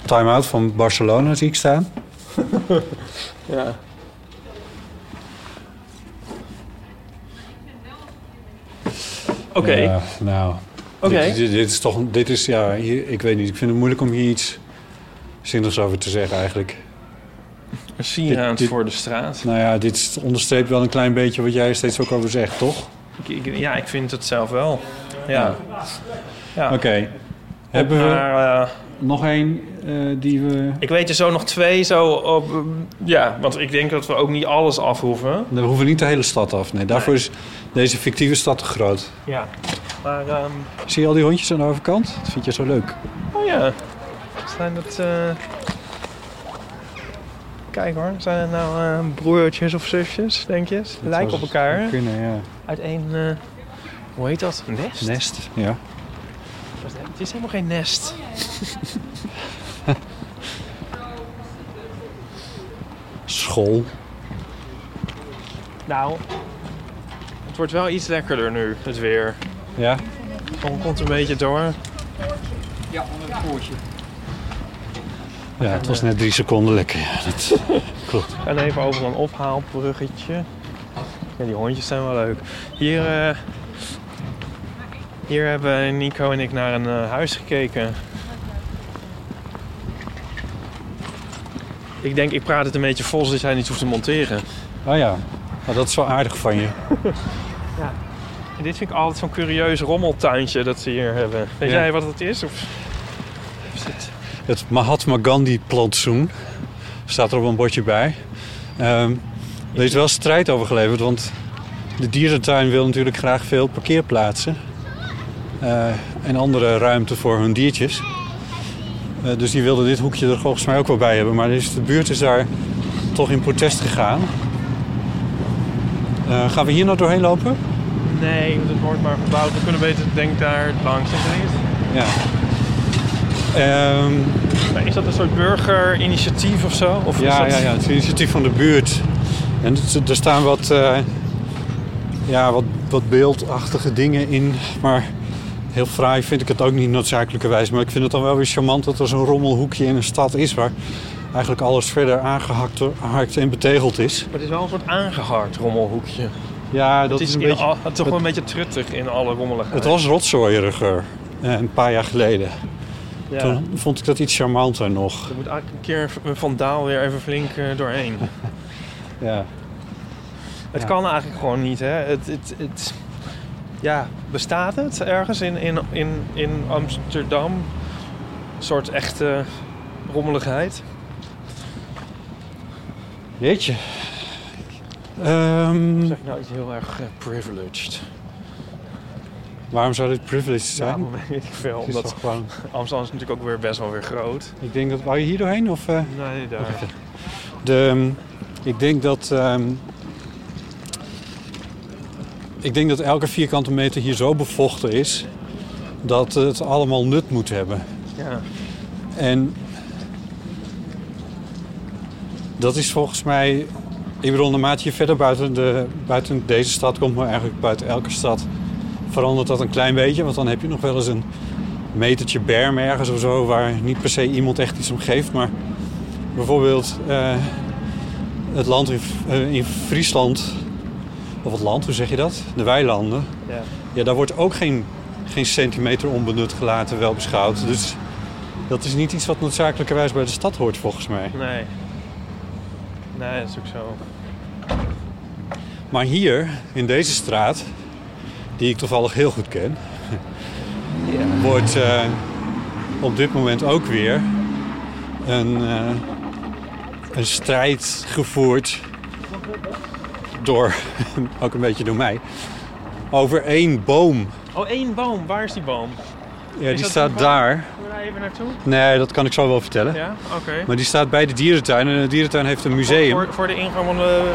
Speaker 2: Time-out van Barcelona zie ik staan.
Speaker 5: Ja. Oké,
Speaker 2: Ja, nou,
Speaker 5: Oké.
Speaker 2: dit, dit, dit is toch, een- dit is, ja, hier- ik weet niet. Ik vind het moeilijk om hier iets zinnigs over te zeggen eigenlijk.
Speaker 5: een sieraad
Speaker 2: Dit- dit-
Speaker 5: voor de straat.
Speaker 2: Nou ja, dit is- onderstreept wel een klein beetje wat jij steeds ook over zegt, toch?
Speaker 5: Ik- ik- ja, ik vind het zelf wel. Ja. ja.
Speaker 2: Oké. Hebben we
Speaker 5: Maar eh,
Speaker 2: nog één eh, die we...
Speaker 5: ik weet er zo nog twee zo op... eh, ja, want ik denk dat we ook niet alles afhoeven.
Speaker 2: We hoeven niet de hele stad af. Nee, daarvoor is deze fictieve stad te groot.
Speaker 5: Ja. Maar, ehm,
Speaker 2: Zie je al die hondjes aan de overkant? Dat vind je zo leuk.
Speaker 5: oh ja. Zijn dat... eh, Kijk hoor, zijn het nou eh, broertjes of zusjes, denk je? Ze Lijken op elkaar. hè?
Speaker 2: Kunnen, ja.
Speaker 5: uit één. eh, hoe heet dat? Nest?
Speaker 2: Nest. Ja.
Speaker 5: Het is helemaal geen nest.
Speaker 2: School.
Speaker 5: Nou. Het wordt wel iets lekkerder nu, het weer.
Speaker 2: Ja.
Speaker 5: Gewoon komt een beetje door.
Speaker 2: Ja, het was net drie seconden lekker. Ja, dat... Klopt.
Speaker 5: En even over een ophaalbruggetje. Ja, die hondjes zijn wel leuk. Hier, eh, hier hebben Nico en ik naar een eh, huis gekeken. Ik denk, ik praat het een beetje vol zodat jij niet hoeft te monteren.
Speaker 2: Ah ja. Nou, dat is wel aardig van je.
Speaker 5: En dit vind ik altijd zo'n curieus rommeltuintje dat ze hier hebben. Weet
Speaker 2: Ja.
Speaker 5: jij wat het is? Of... is het-
Speaker 2: Het Mahatma Gandhi plantsoen staat er op een bordje bij. Ehm, er is wel strijd over geleverd, want de dierentuin wil natuurlijk graag veel parkeerplaatsen. eh, en andere ruimte voor hun diertjes. Eh, dus die wilden dit hoekje er volgens mij ook wel bij hebben. Maar dus de buurt is daar toch in protest gegaan. Eh, gaan we hier nou doorheen lopen?
Speaker 5: Nee, want het wordt maar gebouwd. We kunnen beter, denk daar langs. Is er iets?
Speaker 2: Ja. Ehm,
Speaker 5: Maar Is dat een soort burgerinitiatief of zo? Of is
Speaker 2: Ja,
Speaker 5: dat...
Speaker 2: ja, ja, het initiatief van de buurt. En het- er staan wat, eh, ja, wat, wat beeldachtige dingen in. Maar heel fraai vind ik het ook niet noodzakelijkerwijs. Maar ik vind het dan wel weer charmant dat er zo'n rommelhoekje in een stad is... waar eigenlijk alles verder aangehakt hakt en betegeld is.
Speaker 5: Maar het is wel een soort aangehakt rommelhoekje.
Speaker 2: Ja, dat
Speaker 5: het is,
Speaker 2: is een
Speaker 5: in
Speaker 2: beetje...
Speaker 5: al- toch wel een beetje truttig in alle rommeligheid.
Speaker 2: Het was rotzooieriger eh, een paar jaar geleden.
Speaker 5: Ja.
Speaker 2: Toen vond ik dat iets charmanter nog.
Speaker 5: Er moet eigenlijk een keer een vandaal weer even flink eh, doorheen.
Speaker 2: Ja.
Speaker 5: Het
Speaker 2: Ja.
Speaker 5: kan eigenlijk gewoon niet, hè? Het, het, het, ja, bestaat het ergens in, in, in, in Amsterdam? Een soort echte rommeligheid?
Speaker 2: Jeetje. Ehm,
Speaker 5: Zeg ik nou iets heel erg eh, privileged?
Speaker 2: waarom zou dit privileged
Speaker 5: Ja,
Speaker 2: zijn?
Speaker 5: maar weet ik veel.
Speaker 2: Het is
Speaker 5: Omdat
Speaker 2: toch gewoon...
Speaker 5: Amsterdam is natuurlijk ook weer best wel weer groot.
Speaker 2: Ik denk dat... Wou je hier doorheen? Of, eh,
Speaker 5: Nee, daar.
Speaker 2: de, ehm, ik denk dat... ehm, ik denk dat elke vierkante meter hier zo bevochten is... dat het allemaal nut moet hebben.
Speaker 5: Ja.
Speaker 2: En dat is volgens mij... Ik bedoel, naarmate je verder buiten, de, buiten deze stad komt... maar eigenlijk buiten elke stad... verandert dat een klein beetje. Want dan heb je nog wel eens een metertje berm ergens of zo... waar niet per se iemand echt iets om geeft. Maar bijvoorbeeld eh, het land in, eh, in Friesland... of het land, hoe zeg je dat? De weilanden.
Speaker 5: Ja.
Speaker 2: Ja, daar wordt ook geen, geen centimeter onbenut gelaten, wel beschouwd. Dus dat is niet iets wat noodzakelijkerwijs bij de stad hoort, volgens mij.
Speaker 5: Nee. Nee, dat is ook zo.
Speaker 2: Maar hier, in deze straat, die ik toevallig heel goed ken, wordt eh, op dit moment ook weer een, eh, een strijd gevoerd door, ook een beetje door mij, over één boom.
Speaker 5: Oh, één boom. Waar is die boom?
Speaker 2: Ja, die
Speaker 5: dat
Speaker 2: staat
Speaker 5: een boom?
Speaker 2: daar.
Speaker 5: Waar even naartoe?
Speaker 2: Nee, dat kan ik zo wel vertellen.
Speaker 5: Ja, oké.
Speaker 2: Maar die staat bij de dierentuin en de dierentuin heeft een museum.
Speaker 5: Voor, voor de ingang van de...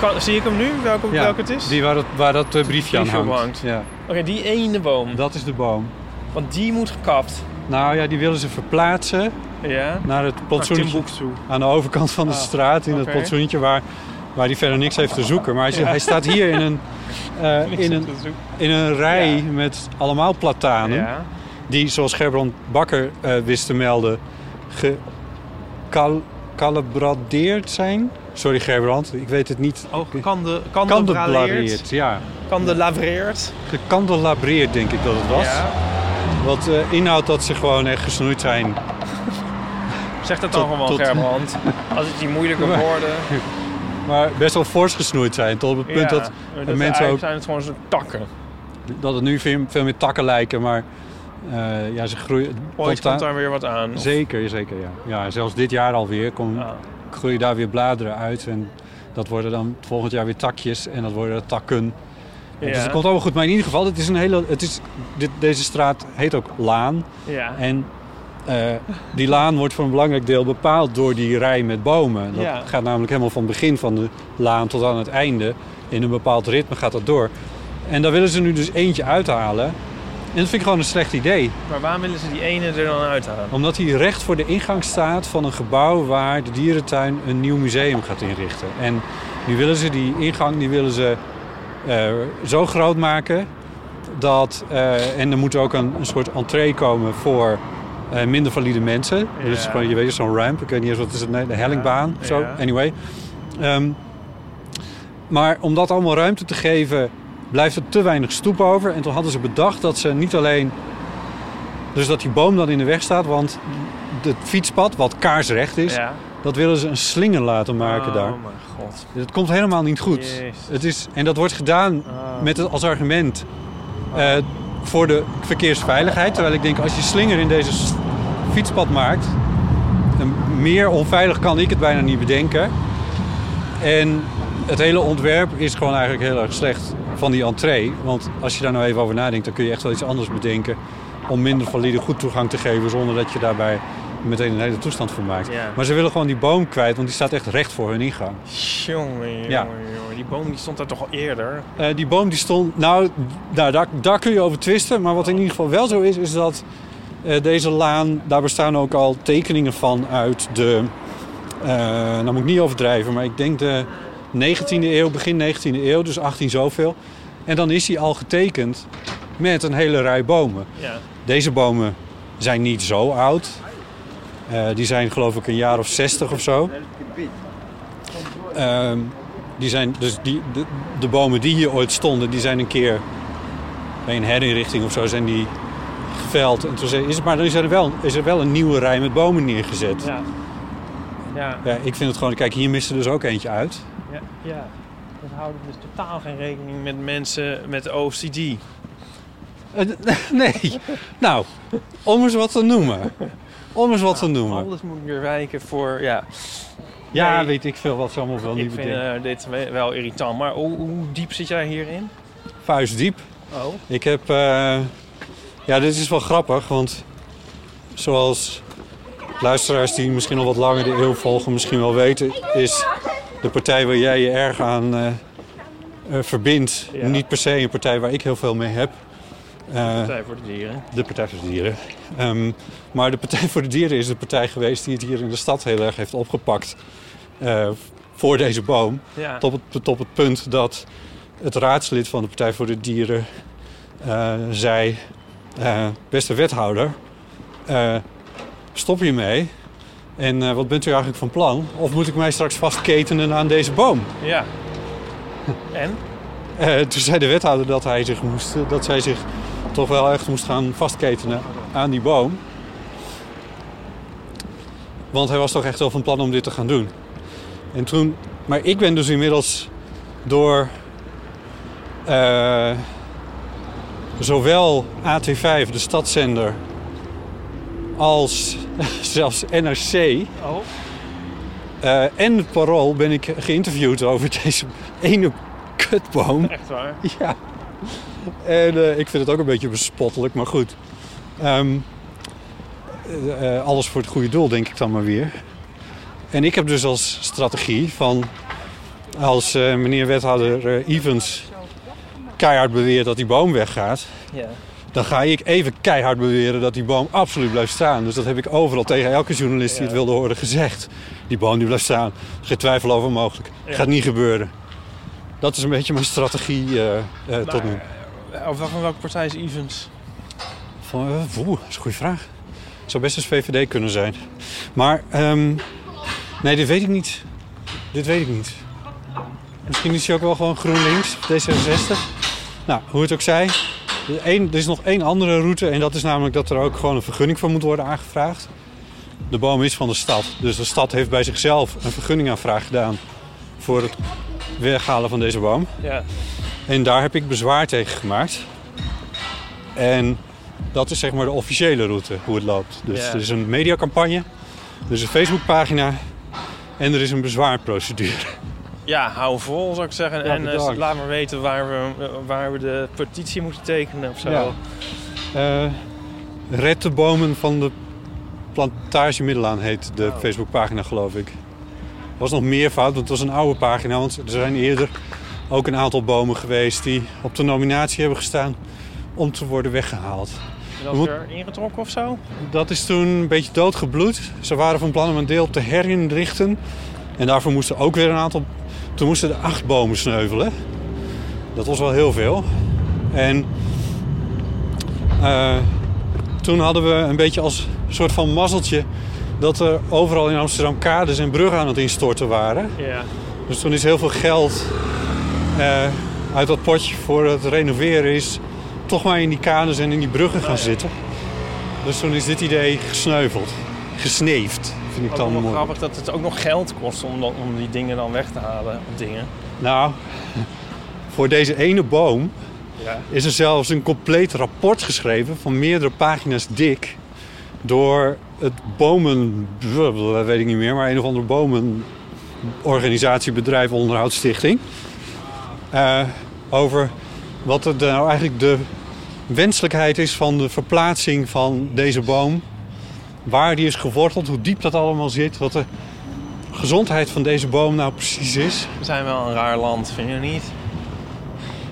Speaker 5: Kan- zie ik hem nu? Welke,
Speaker 2: Ja,
Speaker 5: welke het is?
Speaker 2: Die waar dat, waar dat eh, briefje aan
Speaker 5: Briefje
Speaker 2: hangt.
Speaker 5: hangt.
Speaker 2: Ja,
Speaker 5: Oké, die ene boom.
Speaker 2: dat is de boom.
Speaker 5: Want die moet gekapt.
Speaker 2: Nou ja, die willen ze verplaatsen
Speaker 5: Ja.
Speaker 2: naar het
Speaker 5: Naar
Speaker 2: plantsoentje
Speaker 5: Timbuktu.
Speaker 2: aan de overkant van de
Speaker 5: Ah,
Speaker 2: straat. In
Speaker 5: oké.
Speaker 2: dat plantsoentje waar, waar die verder niks heeft te zoeken. Maar hij, hij staat hier in een, eh,
Speaker 5: Niks
Speaker 2: in
Speaker 5: om
Speaker 2: een,
Speaker 5: te zoeken.
Speaker 2: in een rij
Speaker 5: Ja.
Speaker 2: met allemaal platanen.
Speaker 5: Ja.
Speaker 2: Die, zoals Gerbrand Bakker eh, wist te melden, gecalibradeerd zijn. Sorry Gerbrand, ik weet het niet.
Speaker 5: Oh, kan de, kan de
Speaker 2: Kandelareerd, ja.
Speaker 5: Kan de lavreert.
Speaker 2: Gekandelabreerd denk ik dat het was.
Speaker 5: Ja.
Speaker 2: Wat eh, inhoudt dat ze gewoon echt gesnoeid zijn.
Speaker 5: Zeg dat dan
Speaker 2: Tot-
Speaker 5: gewoon,
Speaker 2: tot-
Speaker 5: Gerbrand. Als het die moeilijke woorden...
Speaker 2: Maar best wel fors gesnoeid zijn. Tot op het punt
Speaker 5: Ja,
Speaker 2: dat,
Speaker 5: maar
Speaker 2: mensen
Speaker 5: eigenlijk
Speaker 2: ook-
Speaker 5: zijn het gewoon zo'n takken.
Speaker 2: dat het nu veel, veel meer takken lijken. Maar eh, ja, ze groeien.
Speaker 5: Ooit
Speaker 2: planta-
Speaker 5: komt daar weer wat aan. Ah. Of-
Speaker 2: Zeker, zeker ja. ja. Zelfs dit jaar alweer kom,
Speaker 5: Ja.
Speaker 2: groeien daar weer bladeren uit. En dat worden dan volgend jaar weer takjes. En dat worden takken.
Speaker 5: Ja.
Speaker 2: Dus het komt allemaal goed. Maar in ieder geval, het is een hele, het is, dit, deze straat heet ook Laan.
Speaker 5: Ja.
Speaker 2: En eh, die laan wordt voor een belangrijk deel bepaald door die rij met bomen. Dat
Speaker 5: Ja.
Speaker 2: gaat namelijk helemaal van het begin van de laan tot aan het einde. In een bepaald ritme gaat dat door. En daar willen ze nu dus eentje uithalen. En dat vind ik gewoon een slecht idee.
Speaker 5: Maar waarom willen ze die ene er dan uithalen?
Speaker 2: Omdat hij recht voor de ingang staat van een gebouw waar de dierentuin een nieuw museum gaat inrichten. En nu willen ze die ingang die willen ze, eh, zo groot maken dat. eh, en er moet ook een, een soort entree komen voor eh, minder valide mensen. Dus
Speaker 5: Ja.
Speaker 2: gewoon, je weet zo'n ramp, ik weet niet eens wat is het, nee, de hellingbaan of zo.
Speaker 5: ja.
Speaker 2: Anyway. Ehm, maar om dat allemaal ruimte te geven, blijft er te weinig stoep over. En toen hadden ze bedacht dat ze niet alleen dus dat die boom dan in de weg staat, want het fietspad, wat kaarsrecht is,
Speaker 5: Ja.
Speaker 2: dat willen ze een slinger laten maken
Speaker 5: oh,
Speaker 2: daar.
Speaker 5: mijn god.
Speaker 2: Dat Dus komt helemaal niet goed.
Speaker 5: Jezus.
Speaker 2: Het is, en dat wordt gedaan
Speaker 5: Ah.
Speaker 2: met het als argument eh, voor de verkeersveiligheid. Terwijl ik denk, als je slinger in deze s- fietspad maakt, een- meer onveilig kan ik het bijna niet bedenken. En het hele ontwerp is gewoon eigenlijk heel erg slecht van die entree. Want als je daar nou even over nadenkt, dan kun je echt wel iets anders bedenken om minder valide goed toegang te geven zonder dat je daarbij meteen een hele toestand voor maakt.
Speaker 5: Ja.
Speaker 2: Maar ze willen gewoon die boom kwijt, want die staat echt recht voor hun ingang.
Speaker 5: Jongen, jongen,
Speaker 2: Ja.
Speaker 5: jongen. Die boom die stond daar toch al eerder?
Speaker 2: Eh, die boom die stond, nou, nou daar, daar kun je over twisten. Maar wat in ieder geval wel zo is, is dat eh, deze laan, daar bestaan ook al tekeningen van uit de, eh nou moet ik niet overdrijven, maar ik denk de 19e eeuw, begin 19e eeuw, dus 18 zoveel. En dan is die al getekend met een hele rij bomen.
Speaker 5: Ja.
Speaker 2: Deze bomen zijn niet zo oud. Eh, die zijn geloof ik een jaar of 60 of zo. Ehm, die zijn, dus die, de, de bomen die hier ooit stonden, die zijn een keer bij een herinrichting of zo zijn die geveld. En toen zei- is het, maar dan is er, wel, is er wel een nieuwe rij met bomen neergezet. Ja.
Speaker 5: Ja. Ja.
Speaker 2: ik vind het gewoon, kijk, hier mist er dus ook eentje uit.
Speaker 5: Ja. ja. We houden dus totaal geen rekening met mensen met OCD.
Speaker 2: Eh, nee, nou, om eens wat te noemen. Om eens wat te noemen.
Speaker 5: Alles moet weer wijken voor... Ja,
Speaker 2: Ja,
Speaker 5: Nee.
Speaker 2: weet ik veel wat ze allemaal wel
Speaker 5: ik
Speaker 2: niet
Speaker 5: vind
Speaker 2: bedenken.
Speaker 5: eh, dit we- wel irritant. Maar hoe, hoe diep zit jij hierin? eh,
Speaker 2: Vuistdiep.
Speaker 5: Oh.
Speaker 2: Ik heb. eh, ja, dit is wel grappig, want zoals luisteraars die misschien al wat langer de eeuw volgen, misschien wel weten, is de partij waar jij je erg aan eh, eh, verbindt
Speaker 5: Ja.
Speaker 2: niet per se een partij waar ik heel veel mee heb. Eh,
Speaker 5: Zij voor de dieren.
Speaker 2: de Partij voor de Dieren. Ehm, maar de Partij voor de Dieren is de partij geweest die het hier in de stad heel erg heeft opgepakt eh, voor deze boom.
Speaker 5: Ja.
Speaker 2: Tot het, tot het punt dat het raadslid van de Partij voor de Dieren eh, zei: eh, Beste wethouder, eh, stop hiermee. En eh, wat bent u eigenlijk van plan? Of moet ik mij straks vastketenen aan deze boom?
Speaker 5: Ja. En?
Speaker 2: Eh, toen zei de wethouder dat, hij zich moest, eh, dat zij zich toch wel echt moest gaan vastketenen aan die boom. Want hij was toch echt wel van plan om dit te gaan doen. En toen, maar ik ben dus inmiddels door eh, zowel AT5, de stadszender, als zelfs NRC
Speaker 5: Oh.
Speaker 2: eh, en het Parool ben ik geïnterviewd over deze ene kutboom.
Speaker 5: Echt waar.
Speaker 2: Ja. En eh, ik vind het ook een beetje bespottelijk, maar goed. Ehm, eh, eh, alles voor het goede doel, denk ik dan maar weer. En ik heb dus als strategie van... als eh, meneer wethouder eh, Evans keihard beweert dat die boom weggaat...
Speaker 5: Ja.
Speaker 2: dan ga ik even keihard beweren dat die boom absoluut blijft staan. Dus dat heb ik overal tegen elke journalist die het wilde horen gezegd. Die boom die blijft staan. Geen twijfel over mogelijk. Gaat niet gebeuren. Dat is een beetje mijn strategie eh, eh, tot nu.
Speaker 5: Of wel van welke partij is Evans?
Speaker 2: Van, eh, woe, dat is een goede vraag. Zou best eens VVD kunnen zijn. Maar, ehm, nee, dit weet ik niet. Dit weet ik niet. Misschien is hij ook wel gewoon GroenLinks, D66. Nou, hoe het ook zij. Er één- er is nog één andere route en dat is namelijk dat er ook gewoon een vergunning voor moet worden aangevraagd. De boom is van de stad, dus de stad heeft bij zichzelf een vergunningaanvraag gedaan voor het weghalen van deze boom.
Speaker 5: Ja.
Speaker 2: En daar heb ik bezwaar tegen gemaakt. En dat is zeg maar de officiële route, hoe het loopt. Dus
Speaker 5: Ja.
Speaker 2: er is een mediacampagne, er is een Facebookpagina en er is een bezwaarprocedure.
Speaker 5: Ja, hou vol zou ik
Speaker 2: Ja,
Speaker 5: zeggen. en eh,
Speaker 2: bedankt.
Speaker 5: laat maar weten waar we, eh, waar we de petitie moeten tekenen of zo.
Speaker 2: Ja. Eh red de bomen van de plantage Middelaan heet de Facebookpagina, geloof ik. Er was nog meer fout, want het was een oude pagina. Want er zijn eerder ook een aantal bomen geweest die op de nominatie hebben gestaan om te worden weggehaald.
Speaker 5: En dat
Speaker 2: We moet-
Speaker 5: er ingetrokken of zo?
Speaker 2: Dat is toen een beetje doodgebloed. Ze waren van plan om een deel te herinrichten. En daarvoor moesten ook weer een aantal... Toen moesten er acht bomen sneuvelen. Dat was wel heel veel. En eh, toen hadden we een beetje als soort van mazzeltje... dat er overal in Amsterdam kades en bruggen aan het instorten waren.
Speaker 5: Ja.
Speaker 2: Dus toen is heel veel geld eh, uit dat potje voor het renoveren is toch maar in die kades en in die bruggen gaan zitten. Dus toen is dit idee gesneuveld. Gesneefd, vind ik
Speaker 5: Ook
Speaker 2: dan
Speaker 5: nog
Speaker 2: mooi.
Speaker 5: grappig dat het ook nog geld kost om, dan- om die dingen dan weg te halen. Of dingen.
Speaker 2: Nou, voor deze ene boom
Speaker 5: Ja.
Speaker 2: is er zelfs een compleet rapport geschreven van meerdere pagina's dik door het bomen, dat weet ik niet meer, maar een of andere bomenorganisatie, bedrijf, onderhoudsstichting. Eh, over wat het nou eigenlijk de wenselijkheid is van de verplaatsing van deze boom. Waar die is geworteld, hoe diep dat allemaal zit, wat de gezondheid van deze boom nou precies is.
Speaker 5: We zijn wel een raar land, vind je niet?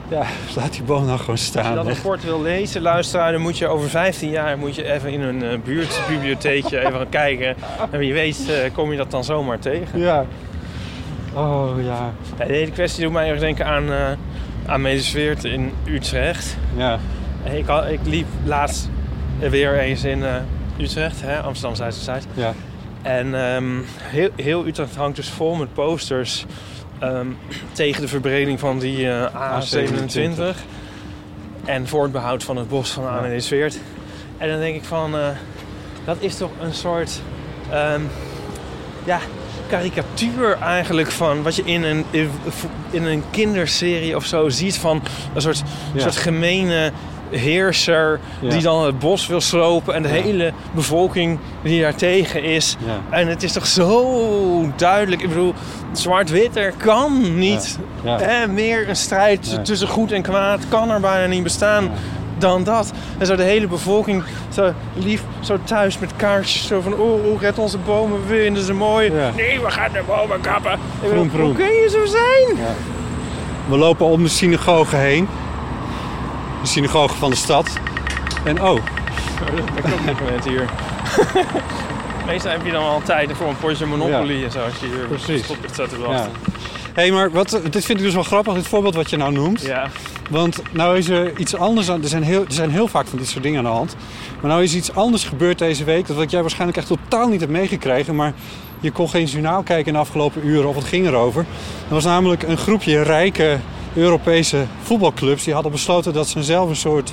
Speaker 2: Ja, laat die boom nou gewoon
Speaker 5: Als
Speaker 2: staan.
Speaker 5: je dat
Speaker 2: echt.
Speaker 5: rapport wil lezen, luisteraar, dan moet je over 15 jaar moet je even in een eh, buurtbibliotheekje even gaan kijken. En wie weet eh, kom je dat dan zomaar tegen.
Speaker 2: Ja. Oh ja.
Speaker 5: Ja, de hele kwestie doet mij erg denken aan, eh aan Medesweert in Utrecht.
Speaker 2: Ja.
Speaker 5: En Ik, had- ik liep laatst weer eens in eh, Utrecht, hè, Amsterdam Zuid-Zuid.
Speaker 2: Ja.
Speaker 5: En ehm, heel, heel Utrecht hangt dus vol met posters ehm, tegen de verbreding van die eh, A27. En voor het behoud van het bos van Amelisweert. En dan denk ik van, eh, dat is toch een soort ehm, ja, karikatuur eigenlijk van wat je in een, in een kinderserie of zo ziet van een soort,
Speaker 2: Ja.
Speaker 5: soort gemene heerser
Speaker 2: Ja.
Speaker 5: die dan het bos wil slopen en de
Speaker 2: Ja.
Speaker 5: hele bevolking die daar tegen is.
Speaker 2: Ja.
Speaker 5: En het is toch zo duidelijk. Ik bedoel, zwart-wit er kan niet.
Speaker 2: Ja.
Speaker 5: Hè, meer een strijd
Speaker 2: Nee.
Speaker 5: tussen goed en kwaad kan er bijna niet bestaan dan dat. En zo de hele bevolking zo lief, zo thuis met kaarsjes. Zo van, oh, oh red onze bomen, we vinden ze mooi.
Speaker 2: Ja.
Speaker 5: Nee, we gaan de bomen kappen. Ik bedoel,
Speaker 2: Groen, groen.
Speaker 5: Hoe kun je zo zijn?
Speaker 2: We lopen om de synagoge heen. De synagoge van de stad. En oh,
Speaker 5: Ik heb ook moment hier. Meestal heb je dan al tijd voor een potje Monopoly en zo. Als je hier
Speaker 2: Precies.
Speaker 5: op staat te
Speaker 2: ja.
Speaker 5: wachten.
Speaker 2: Hé, hey, maar wat, dit vind ik dus wel grappig, dit voorbeeld wat je nou noemt.
Speaker 5: Ja.
Speaker 2: Want nou is er iets anders aan. Er zijn, heel, er zijn heel vaak van dit soort dingen aan de hand. Maar nou is iets anders gebeurd deze week. Dat wat jij waarschijnlijk echt totaal niet hebt meegekregen. Maar je kon geen journaal kijken in de afgelopen uren. Of het ging erover. Er was namelijk een groepje rijke Europese voetbalclubs. Die hadden besloten dat ze zelf een soort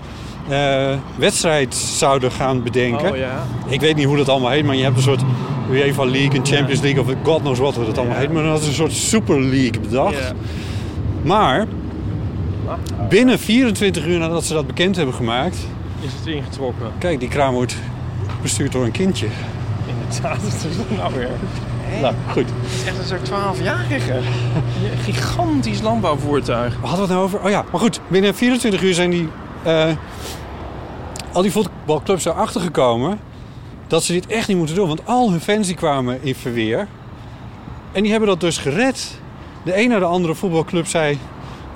Speaker 2: eh, wedstrijd zouden gaan bedenken.
Speaker 5: Oh ja.
Speaker 2: Ik weet niet hoe dat allemaal heet, maar je hebt een soort UEFA League en Champions League of God knows what hoe dat allemaal
Speaker 5: Ja.
Speaker 2: heet. Maar dat is een soort Super League bedacht.
Speaker 5: Ja.
Speaker 2: Maar binnen 24 uur nadat ze dat bekend hebben gemaakt...
Speaker 5: Is het ingetrokken?
Speaker 2: Kijk, die kraam wordt bestuurd door een kindje.
Speaker 5: Inderdaad, dat is het nou weer.
Speaker 2: Nou, goed.
Speaker 5: Het is echt een soort 12-jarige. Gigantisch landbouwvoertuig.
Speaker 2: Waar hadden we het nou over? Oh ja, maar goed. Binnen 24 uur zijn die, eh, al die voetbalclubs erachter gekomen... dat ze dit echt niet moeten doen. Want al hun fans die kwamen in verweer. En die hebben dat dus gered. De een naar de andere voetbalclub zei...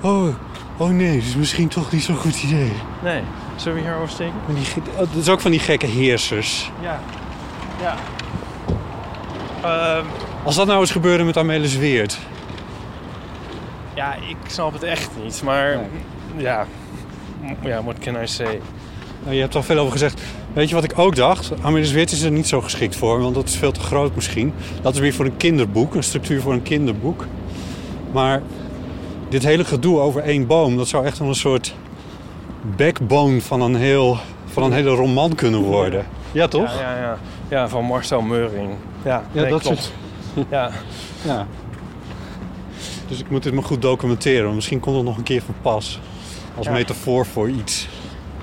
Speaker 2: Oh, oh nee, dat is misschien toch niet zo'n goed idee.
Speaker 5: Nee. Zullen we hierover steken?
Speaker 2: Maar die, ge- oh, dat is ook van die gekke heersers.
Speaker 5: Ja. Ja. Ehm,
Speaker 2: Als dat nou eens gebeurde met Amelis Weert.
Speaker 5: ja, ik snap het echt niet. Maar ja. M- Ja, what can I say?
Speaker 2: Nou, je hebt er al veel over gezegd. Weet je wat ik ook dacht? Amelis Weert is er niet zo geschikt voor, want dat is veel te groot misschien. Dat is weer voor een kinderboek, een structuur voor een kinderboek. Maar dit hele gedoe over één boom, dat zou echt wel een soort backbone van een, heel, van een hele roman kunnen worden. Ja, toch?
Speaker 5: Ja, ja, ja. ja van Marcel Meuring. Ja, nee, klopt. Ja.
Speaker 2: Ja. Dus ik moet dit maar goed documenteren. want Misschien komt het nog een keer van pas. Als
Speaker 5: Ja.
Speaker 2: metafoor voor iets.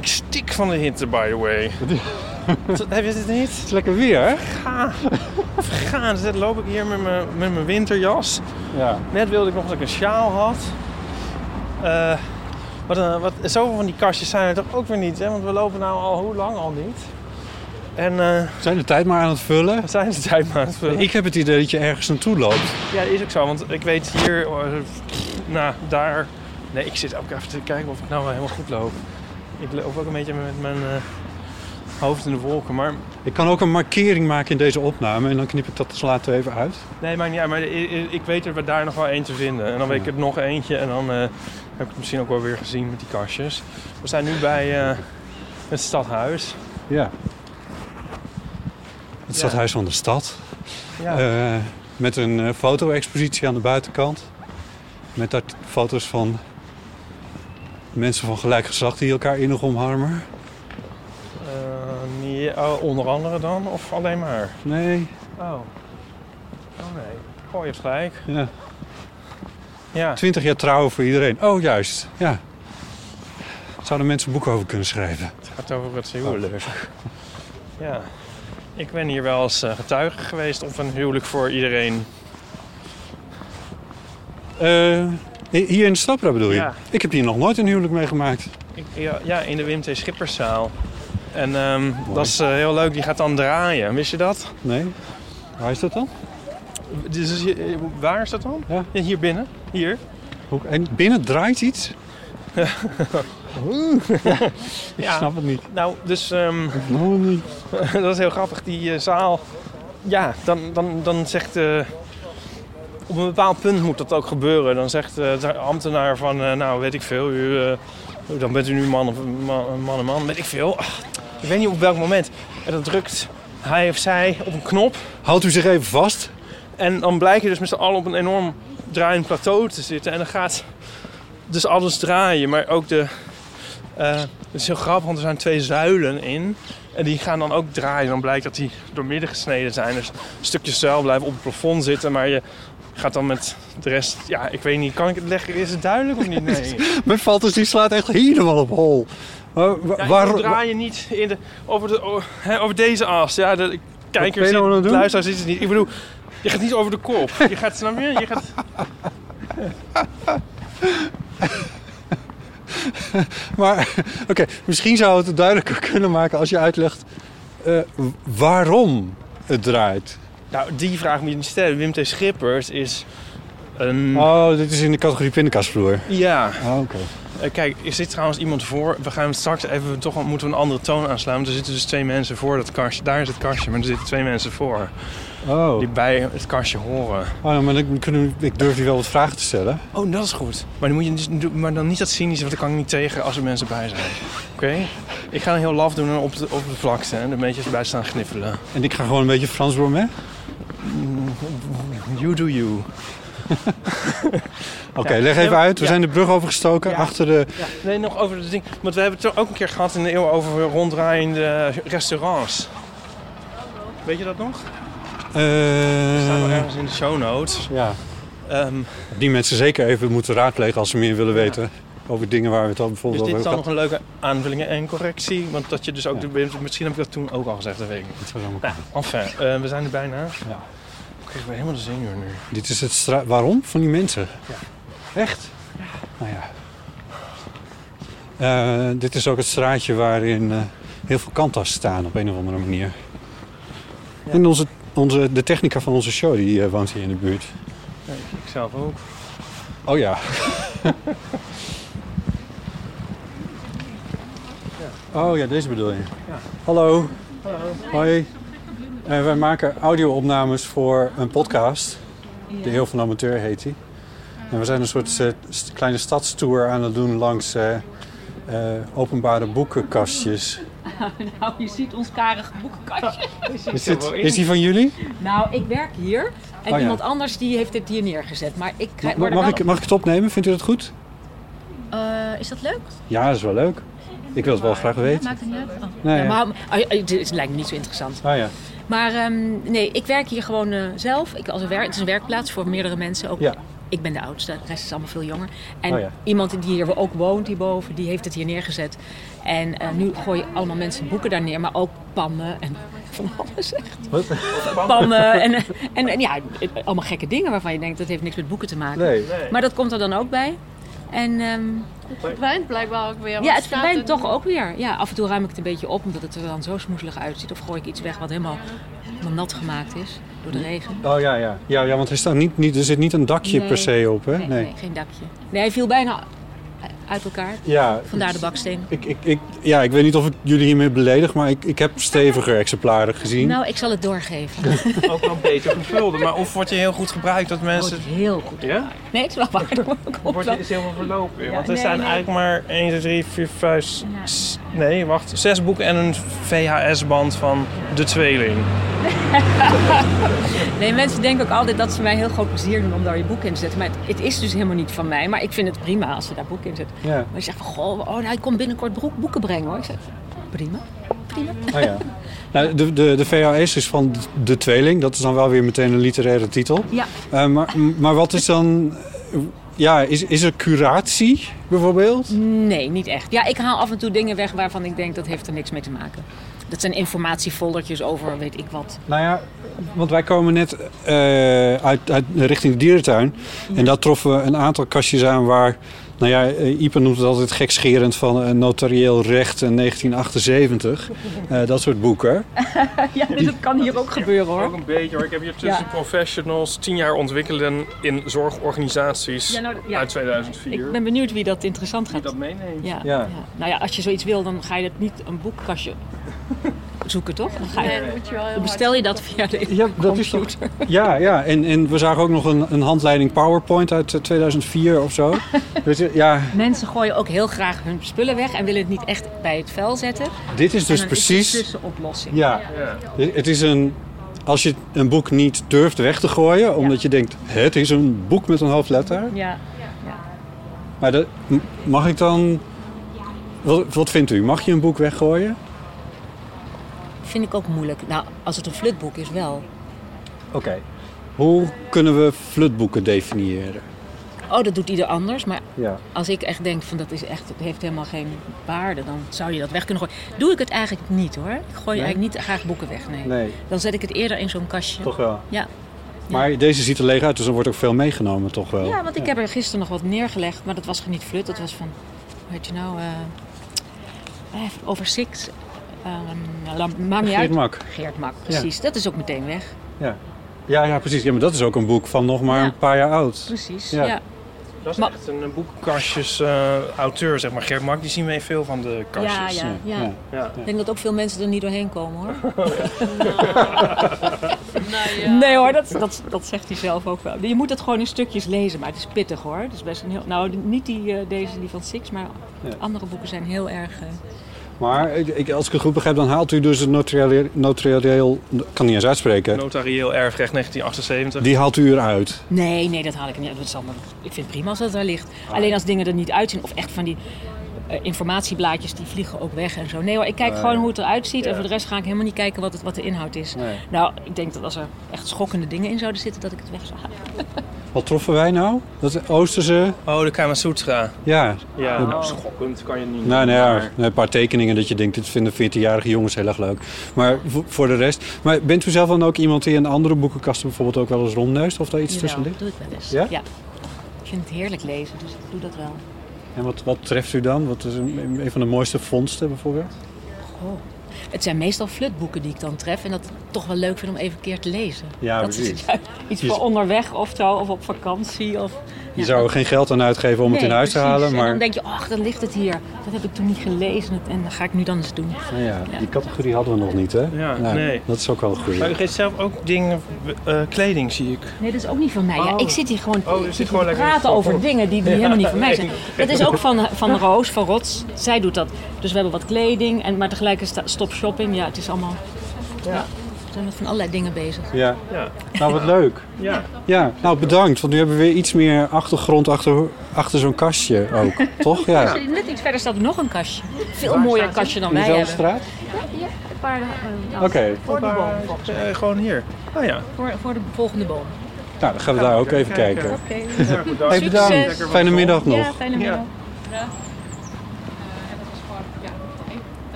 Speaker 5: Ik stik van de hitte, by the way. T- Heb je dit niet?
Speaker 2: Het is lekker weer, hè?
Speaker 5: Ga. Vergaan. Dus dan loop ik hier met mijn, met mijn winterjas.
Speaker 2: Ja.
Speaker 5: Net wilde ik nog dat ik een sjaal had. Eh, wat, een- wat, zoveel van die kastjes zijn er toch ook weer niet, hè? Want we lopen nou al hoe lang al niet. En eh,
Speaker 2: We zijn de tijd maar aan het vullen.
Speaker 5: we zijn de tijd maar aan het vullen.
Speaker 2: Eh, Ik heb het idee dat je ergens naartoe loopt.
Speaker 5: Ja, dat is ook zo. Want ik weet hier... eh, nou, daar... Nee, ik zit ook even te kijken of ik nou wel helemaal goed loop. Ik loop ook een beetje met mijn eh, hoofd in de wolken. Maar
Speaker 2: Ik kan ook een markering maken in deze opname. En dan knip ik dat dus later even uit.
Speaker 5: nee, maakt niet uit. Maar i- i- ik weet er daar nog wel één te vinden. En dan weet ik er nog eentje. En dan eh, heb ik het misschien ook wel weer gezien met die kastjes. We zijn nu bij eh, het stadhuis.
Speaker 2: Ja. Het
Speaker 5: Ja.
Speaker 2: stadhuis van de stad.
Speaker 5: Ja.
Speaker 2: Eh, met een eh, foto-expositie aan de buitenkant. Met daar foto's van mensen van gelijk geslacht die elkaar innig omarmen.
Speaker 5: Eh, niet- oh, onder andere dan? Of alleen maar?
Speaker 2: Nee,
Speaker 5: Oh. Oh nee. Goh, je hebt gelijk.
Speaker 2: ja.
Speaker 5: Ja.
Speaker 2: 20 jaar trouwen voor iedereen. Oh, juist. Ja. Zouden mensen boeken over kunnen schrijven?
Speaker 5: gaat over het huwelijk. Ja. Ik ben hier wel eens eh, getuige geweest op een huwelijk voor iedereen.
Speaker 2: Eh, hier in de Stappera bedoel je?
Speaker 5: Ja.
Speaker 2: Ik heb hier nog nooit een huwelijk meegemaakt.
Speaker 5: Ik, ja, ja, in de Wim T. Schipperszaal. En ehm, dat is eh, heel leuk, die gaat dan draaien. Wist je dat?
Speaker 2: Nee. Waar is dat dan?
Speaker 5: Dus, is je- eh, waar is dat dan?
Speaker 2: Ja.
Speaker 5: hier binnen. Hier.
Speaker 2: Hoe- En binnen draait iets? Oeh, Ik
Speaker 5: Ja.
Speaker 2: snap het niet.
Speaker 5: Nou, dus ehm,
Speaker 2: Nog niet.
Speaker 5: dat is heel grappig, die eh, zaal. Ja, dan, dan, dan zegt. eh, op een bepaald punt moet dat ook gebeuren. Dan zegt eh, de ambtenaar van, eh, nou weet ik veel, u, eh, dan bent u nu man of man, man en man, weet ik veel. Ah, ik weet niet op welk moment. En dan drukt hij of zij op een knop.
Speaker 2: Houdt u zich even vast?
Speaker 5: En dan blijk je dus met z'n allen op een enorm draaiend plateau te zitten. En dan gaat dus alles draaien. Maar ook de... eh, het is heel grappig, want er zijn twee zuilen in. En die gaan dan ook draaien. Dan blijkt dat die doormidden gesneden zijn. Dus stukjes zuil blijven op het plafond zitten. Maar je gaat dan met de rest... Ja, ik weet niet. Kan ik het leggen? Is het duidelijk of niet? Nee.
Speaker 2: Mijn Valters die slaat echt helemaal op hol. Maar wa-
Speaker 5: Ja,
Speaker 2: waar,
Speaker 5: waarom draai je niet in de, over, de, o- hè, over deze as? Ja, de
Speaker 2: ben je
Speaker 5: kijkers,
Speaker 2: nou aan het doen?
Speaker 5: luisteraars is het niet. Ik bedoel, je gaat niet over de kop. Je gaat, snap je? Je gaat...
Speaker 2: Maar oké, misschien zou het het duidelijker kunnen maken als je uitlegt eh, waarom het draait.
Speaker 5: Nou, die vraag moet je niet stellen. Wim T. Schippers is een...
Speaker 2: Oh, dit is in de categorie pindakaasvloer.
Speaker 5: Ja,
Speaker 2: Oh, oké.
Speaker 5: Eh, kijk, er zit trouwens iemand voor. We gaan straks even, toch wel- moeten we een andere toon aanslaan. Want er zitten dus twee mensen voor dat kastje. Daar is het kastje, maar er zitten twee mensen voor.
Speaker 2: Oh,
Speaker 5: Die bij het kastje horen.
Speaker 2: oh ja, maar dan kunnen, we- ik durf je wel wat vragen te stellen.
Speaker 5: Oh, dat is goed. Maar dan, moet je dus, doen- maar dan niet dat cynische, want daar kan ik niet tegen als er mensen bij zijn. Oké? Ik ga een heel laf doen en op de, op de vlakte en de mensen erbij staan gniffelen.
Speaker 2: En ik ga gewoon een beetje Frans door mee. Mm,
Speaker 5: You do you.
Speaker 2: Oké,
Speaker 5: Ja.
Speaker 2: leg even
Speaker 5: Ja,
Speaker 2: uit. We
Speaker 5: ja.
Speaker 2: zijn de brug overgestoken
Speaker 5: Ja.
Speaker 2: achter de...
Speaker 5: Ja, nee, nog over dat ding. Want we hebben het ook een keer gehad in de eeuw over ronddraaiende restaurants. Weet je dat nog?
Speaker 2: eh,
Speaker 5: Dat staat wel ergens in de show notes.
Speaker 2: ja.
Speaker 5: Ehm,
Speaker 2: Die mensen zeker even moeten raadplegen als ze meer willen weten over dingen waar we het dan
Speaker 5: dus
Speaker 2: bijvoorbeeld
Speaker 5: dit is
Speaker 2: over
Speaker 5: dan
Speaker 2: hebben
Speaker 5: nog een leuke aanvulling en correctie. Want dat je dus ook...
Speaker 2: Ja.
Speaker 5: de- misschien heb ik dat toen ook al gezegd, dat weet ik niet.
Speaker 2: gehad. Dit,
Speaker 5: Nou, enfin, eh, we zijn er bijna.
Speaker 2: Ja.
Speaker 5: Ik krijg weer helemaal de zenuwen nu.
Speaker 2: is het stra- waarom van die mensen. Echt? Nou ja. Eh, dit is ook het straatje waarin eh, heel veel kantas staan op een of andere manier. En onze, onze, de technica van onze show die eh, woont hier in de buurt.
Speaker 5: Ik zelf ook.
Speaker 2: Oh ja. Oh ja, deze bedoel je. Hallo. Hoi. Eh, wij maken audio-opnames voor een podcast. De Eeuw van de Amateur heet die. En we zijn een soort eh, st- kleine stadstour aan het doen langs eh, eh, openbare boekenkastjes.
Speaker 6: Nou, je ziet ons karige boekenkastje.
Speaker 2: Is, dit, is die van jullie?
Speaker 6: Oh. Nou, ik werk hier. En
Speaker 2: Oh ja.
Speaker 6: iemand anders die heeft het hier neergezet. Maar ik krijg... word er
Speaker 2: Mag
Speaker 6: wel-
Speaker 2: ik, mag ik het opnemen? Vindt u dat goed?
Speaker 6: Eh, is dat leuk?
Speaker 2: Ja, dat is wel leuk. Ik wil het wel graag weten.
Speaker 6: Maakt het niet uit? Oh.
Speaker 2: Nee,
Speaker 6: Ja,
Speaker 2: ja.
Speaker 6: maar, oh, oh, dit is- lijkt me niet zo interessant.
Speaker 2: Ah ja.
Speaker 6: Maar ehm, nee, ik werk hier gewoon eh, zelf. Ik, als een wer- het is een werkplaats voor meerdere mensen. Ook
Speaker 2: Ja.
Speaker 6: Ik ben de oudste, de rest is allemaal veel jonger. En
Speaker 2: Oh ja.
Speaker 6: iemand die hier ook woont hierboven, die heeft het hier neergezet. En eh, nu gooien allemaal mensen boeken daar neer, maar ook pannen en van alles echt.
Speaker 2: Wat?
Speaker 6: Pannen en, en, en ja, allemaal gekke dingen waarvan je denkt dat heeft niks met boeken te maken.
Speaker 2: Nee.
Speaker 6: Maar dat komt er dan ook bij. En ehm,
Speaker 7: verdwijnt blijkbaar ook weer. want
Speaker 6: ja, het
Speaker 7: staat
Speaker 6: verdwijnt
Speaker 7: er
Speaker 6: toch ook weer. Ja, af en toe ruim ik het een beetje op, omdat het er dan zo smoezelig uitziet. Of gooi ik iets weg wat helemaal helemaal nat gemaakt is door de regen.
Speaker 2: Oh ja, ja. Ja, ja want er, staat niet, niet, er zit niet een dakje
Speaker 6: Nee.
Speaker 2: per se op, hè?
Speaker 6: Nee, nee, geen dakje. Nee, hij viel bijna uit elkaar.
Speaker 2: Ja,
Speaker 6: Vandaar de baksteen.
Speaker 2: ik, ik, ik, ja, ik weet niet of ik jullie hiermee beledig, maar ik, ik heb steviger exemplaren gezien.
Speaker 6: Nou, ik zal het doorgeven.
Speaker 5: Ook wel beter gevulde.
Speaker 3: Maar of wordt je heel goed gebruikt dat
Speaker 6: Wordt
Speaker 3: mensen...
Speaker 6: heel goed.
Speaker 5: Ja?
Speaker 6: Nee, het is wel waar. Dat komt
Speaker 5: Wordt
Speaker 6: wel.
Speaker 5: is helemaal verlopen.
Speaker 6: Ja,
Speaker 5: want er
Speaker 6: nee,
Speaker 5: staan
Speaker 6: nee.
Speaker 5: eigenlijk maar 1, 2, 3, 4, 5, s- nee, wacht, zes boeken en een VHS-band van De Tweeling.
Speaker 6: Nee, mensen denken ook altijd dat ze mij heel groot plezier doen om daar je boek in te zetten. Maar het, het is dus helemaal niet van mij. Maar ik vind het prima als ze daar boek in zetten.
Speaker 2: Ja,
Speaker 6: Maar je zegt van, goh, oh, nou, ik kom binnenkort broek- boeken brengen hoor. Ik zeg, prima.
Speaker 2: oh ja. Nou, de, de, de VHS is van De Tweeling. Dat is dan wel weer meteen een literaire titel.
Speaker 6: Ja,
Speaker 2: Eh, maar, maar wat is dan... eh, Ja, is, is er curatie bijvoorbeeld?
Speaker 6: Nee, niet echt. Ja, ik haal af en toe dingen weg waarvan ik denk dat heeft er niks mee te maken. Dat zijn informatiefoldertjes over weet ik wat.
Speaker 2: Nou ja, want wij komen net eh, uit, uit, richting de dierentuin. En daar troffen we een aantal kastjes aan waar... Nou ja, eh, Ipe noemt het altijd gekscherend van eh, notarieel recht en 1978. Eh, dat soort boeken.
Speaker 6: Ja, dus dat kan hier ook gebeuren
Speaker 5: Ook een beetje hoor. Ik heb hier tussen
Speaker 6: Ja.
Speaker 5: professionals 10 jaar ontwikkelen in zorgorganisaties
Speaker 6: Ja, nou, ja.
Speaker 5: uit 2004.
Speaker 6: Ik ben benieuwd wie dat interessant
Speaker 5: Die
Speaker 6: gaat.
Speaker 5: dat meeneemt.
Speaker 6: Ja,
Speaker 2: Ja.
Speaker 6: ja. Nou ja, als je zoiets wil, dan ga je dat niet een boekkastje zoeken, toch? Dan ga
Speaker 7: dan-
Speaker 6: je,
Speaker 7: Nee, dan moet je wel heel
Speaker 6: dan
Speaker 7: hard-
Speaker 6: bestel je dat via de
Speaker 2: Ja, dat is toch...
Speaker 6: computer.
Speaker 2: Ja, ja. En, en we zagen ook nog een, een handleiding PowerPoint uit eh, 2004 of zo. Dus eh, ja,
Speaker 6: Mensen gooien ook heel graag hun spullen weg en willen het niet echt bij het vuil zetten.
Speaker 2: dit is
Speaker 6: En
Speaker 2: dus
Speaker 6: dan
Speaker 2: precies...
Speaker 6: Is het tussenoplossing.
Speaker 2: Ja. Het is een. Als je een boek niet durft weg te gooien, omdat je denkt: het is een boek met een hoofdletter.
Speaker 6: Ja.
Speaker 2: Maar dat, m- mag ik dan. Wat, wat vindt u? Mag je een boek weggooien?
Speaker 6: Vind ik ook moeilijk. Nou, als het een flutboek is, wel.
Speaker 2: Oké. Hoe kunnen we flutboeken definiëren?
Speaker 6: Oh, dat doet ieder anders, maar
Speaker 2: Ja.
Speaker 6: Als ik echt denk van dat is echt, het heeft helemaal geen waarde, dan zou je dat weg kunnen gooien. Doe ik het eigenlijk niet hoor. Ik gooi
Speaker 2: Nee?
Speaker 6: eigenlijk niet graag boeken weg. Nee.
Speaker 2: Nee,
Speaker 6: Dan zet ik het eerder in zo'n kastje.
Speaker 2: toch wel.
Speaker 6: Ja.
Speaker 2: Maar deze ziet er leeg uit, dus er wordt ook veel meegenomen, toch wel?
Speaker 6: ja, want ik heb er gisteren nog wat neergelegd, maar dat was geen niet flut. Dat was van, hoe heet je nou, eh, eh, over Six. Ehm, la- maakt niet
Speaker 2: Geert
Speaker 6: uit.
Speaker 2: Mak.
Speaker 6: Geert Mak, precies. Dat is ook meteen weg.
Speaker 2: Ja, ja, precies. Ja, maar dat is ook een boek van nog maar
Speaker 6: Ja.
Speaker 2: een paar jaar oud.
Speaker 6: Precies,
Speaker 2: Ja.
Speaker 6: ja.
Speaker 5: Dat is
Speaker 6: Maar-
Speaker 5: echt een boekenkastjes eh, auteur, zeg maar. Gert Mak, die zien wij veel van de
Speaker 6: Ja,
Speaker 5: kastjes.
Speaker 6: ja, ja.
Speaker 2: Ja.
Speaker 5: Ja.
Speaker 6: Ik denk dat ook veel mensen er niet doorheen komen hoor.
Speaker 7: Nou ja.
Speaker 6: Nee hoor, dat, dat, dat zegt hij zelf ook wel. Je moet het gewoon in stukjes lezen, maar het is pittig hoor. Het is best een heel, nou, niet die, eh, deze die van Six, maar
Speaker 2: Ja.
Speaker 6: andere boeken zijn heel erg... eh,
Speaker 2: Maar ik- ik, als ik het goed begrijp, dan haalt u dus het notarieel... notarieel ik kan niet eens uitspreken.
Speaker 5: Notarieel erfrecht 1978.
Speaker 2: Die haalt u eruit.
Speaker 6: Nee, nee, dat haal ik niet. uit. Dat is allemaal, ik vind het prima als dat daar ligt. Alleen als dingen er niet uitzien of echt van die eh, informatieblaadjes, die vliegen ook weg en zo. Nee hoor, ik kijk gewoon hoe het eruit ziet en voor de rest ga ik helemaal niet kijken wat, het, wat de inhoud is. Nou, ik denk dat als er echt schokkende dingen in zouden zitten, dat ik het weg zou halen.
Speaker 2: Wat troffen wij nou? Dat Oosterse?
Speaker 5: Oh, de Kama Sutra.
Speaker 2: Ja.
Speaker 5: Ja, nou, schokkend kan je niet.
Speaker 2: Nou, nou
Speaker 5: maar-
Speaker 2: ja, een paar tekeningen dat je denkt, dit vinden 14-jarige jongens heel erg leuk. Maar vo- voor de rest... Maar bent u zelf dan ook iemand die in andere boekenkasten bijvoorbeeld ook wel eens rondneust? Of daar iets
Speaker 6: Jawel,
Speaker 2: tussen
Speaker 6: dat
Speaker 2: ligt?
Speaker 6: doe ik wel eens.
Speaker 2: Ja?
Speaker 6: Ik vind het heerlijk lezen, dus ik doe dat wel.
Speaker 2: En wat, wat treft u dan? Wat is een, een van de mooiste vondsten bijvoorbeeld?
Speaker 6: Oh, Het zijn meestal flutboeken die ik dan tref. En dat toch wel leuk vind om even een keer te lezen.
Speaker 2: Ja,
Speaker 6: dat
Speaker 2: precies.
Speaker 6: is juist iets
Speaker 2: Je-
Speaker 6: voor onderweg of zo. Of op vakantie. Of,
Speaker 2: Je zou er geen geld aan uitgeven om het in
Speaker 6: Nee,
Speaker 2: huis te
Speaker 6: precies.
Speaker 2: halen,
Speaker 6: En dan
Speaker 2: maar
Speaker 6: denk je, ach, dan ligt het hier. Dat heb ik toen niet gelezen. En dat ga ik nu dan eens doen.
Speaker 2: nou ja, die categorie hadden we nog niet, hè?
Speaker 5: Ja,
Speaker 2: Nou,
Speaker 5: nee.
Speaker 2: Dat is ook wel goed.
Speaker 5: Maar u geeft zelf ook dingen, eh, kleding zie ik.
Speaker 6: Nee, dat is ook niet van mij. Ja,
Speaker 5: Oh.
Speaker 6: ik zit hier gewoon
Speaker 5: Oh, je
Speaker 6: ik
Speaker 5: zit
Speaker 6: zit
Speaker 5: gewoon
Speaker 6: hier te
Speaker 5: lekker in
Speaker 6: praten
Speaker 5: het
Speaker 6: over
Speaker 5: vakhof.
Speaker 6: dingen die, die
Speaker 5: Ja,
Speaker 6: helemaal niet van mij
Speaker 5: nee.
Speaker 6: zijn. Dat is ook van, van Roos, van Rots. Zij doet dat. Dus we hebben wat kleding, en, maar tegelijkertijd stop shopping. Ja, het is allemaal... Ja. we zijn met van allerlei dingen bezig.
Speaker 2: Ja.
Speaker 5: Ja.
Speaker 2: Nou, wat leuk.
Speaker 5: Ja.
Speaker 2: Ja, nou bedankt, want nu hebben we weer iets meer achtergrond achter, achter zo'n kastje ook, toch? Ja.
Speaker 6: Net iets verder staat er nog een kastje. Veel mooier kastje dan
Speaker 2: In
Speaker 6: wij
Speaker 2: dezelfde
Speaker 6: hebben.
Speaker 2: straat?
Speaker 7: Paarden.
Speaker 2: Oké,
Speaker 6: Voor de boom. volgens mij.
Speaker 5: Eh, gewoon hier. Oh ja.
Speaker 6: Voor, voor de volgende boom.
Speaker 2: nou dan gaan we daar ook even kijken.
Speaker 6: Oké.
Speaker 2: Hey, bedankt.
Speaker 6: Succes.
Speaker 2: Fijne middag nog.
Speaker 6: Ja, fijne middag.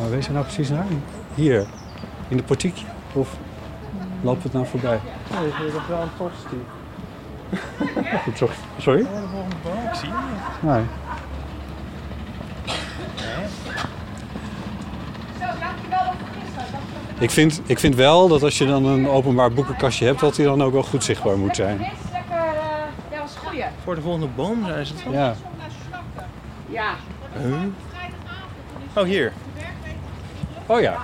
Speaker 2: Maar wees er nou precies naar? Hier, in de portiekje? Of loopt het nou voorbij? Nee, ik heb wel een tosti. Sorry? Ja, de volgende boom, ik zie Ik vind, ik vind wel dat als je dan een openbaar boekenkastje hebt, dat die dan ook wel goed zichtbaar moet zijn.
Speaker 5: Voor de volgende boom zijn ze toch?
Speaker 2: Ja.
Speaker 5: Oh, hier.
Speaker 2: Oh ja.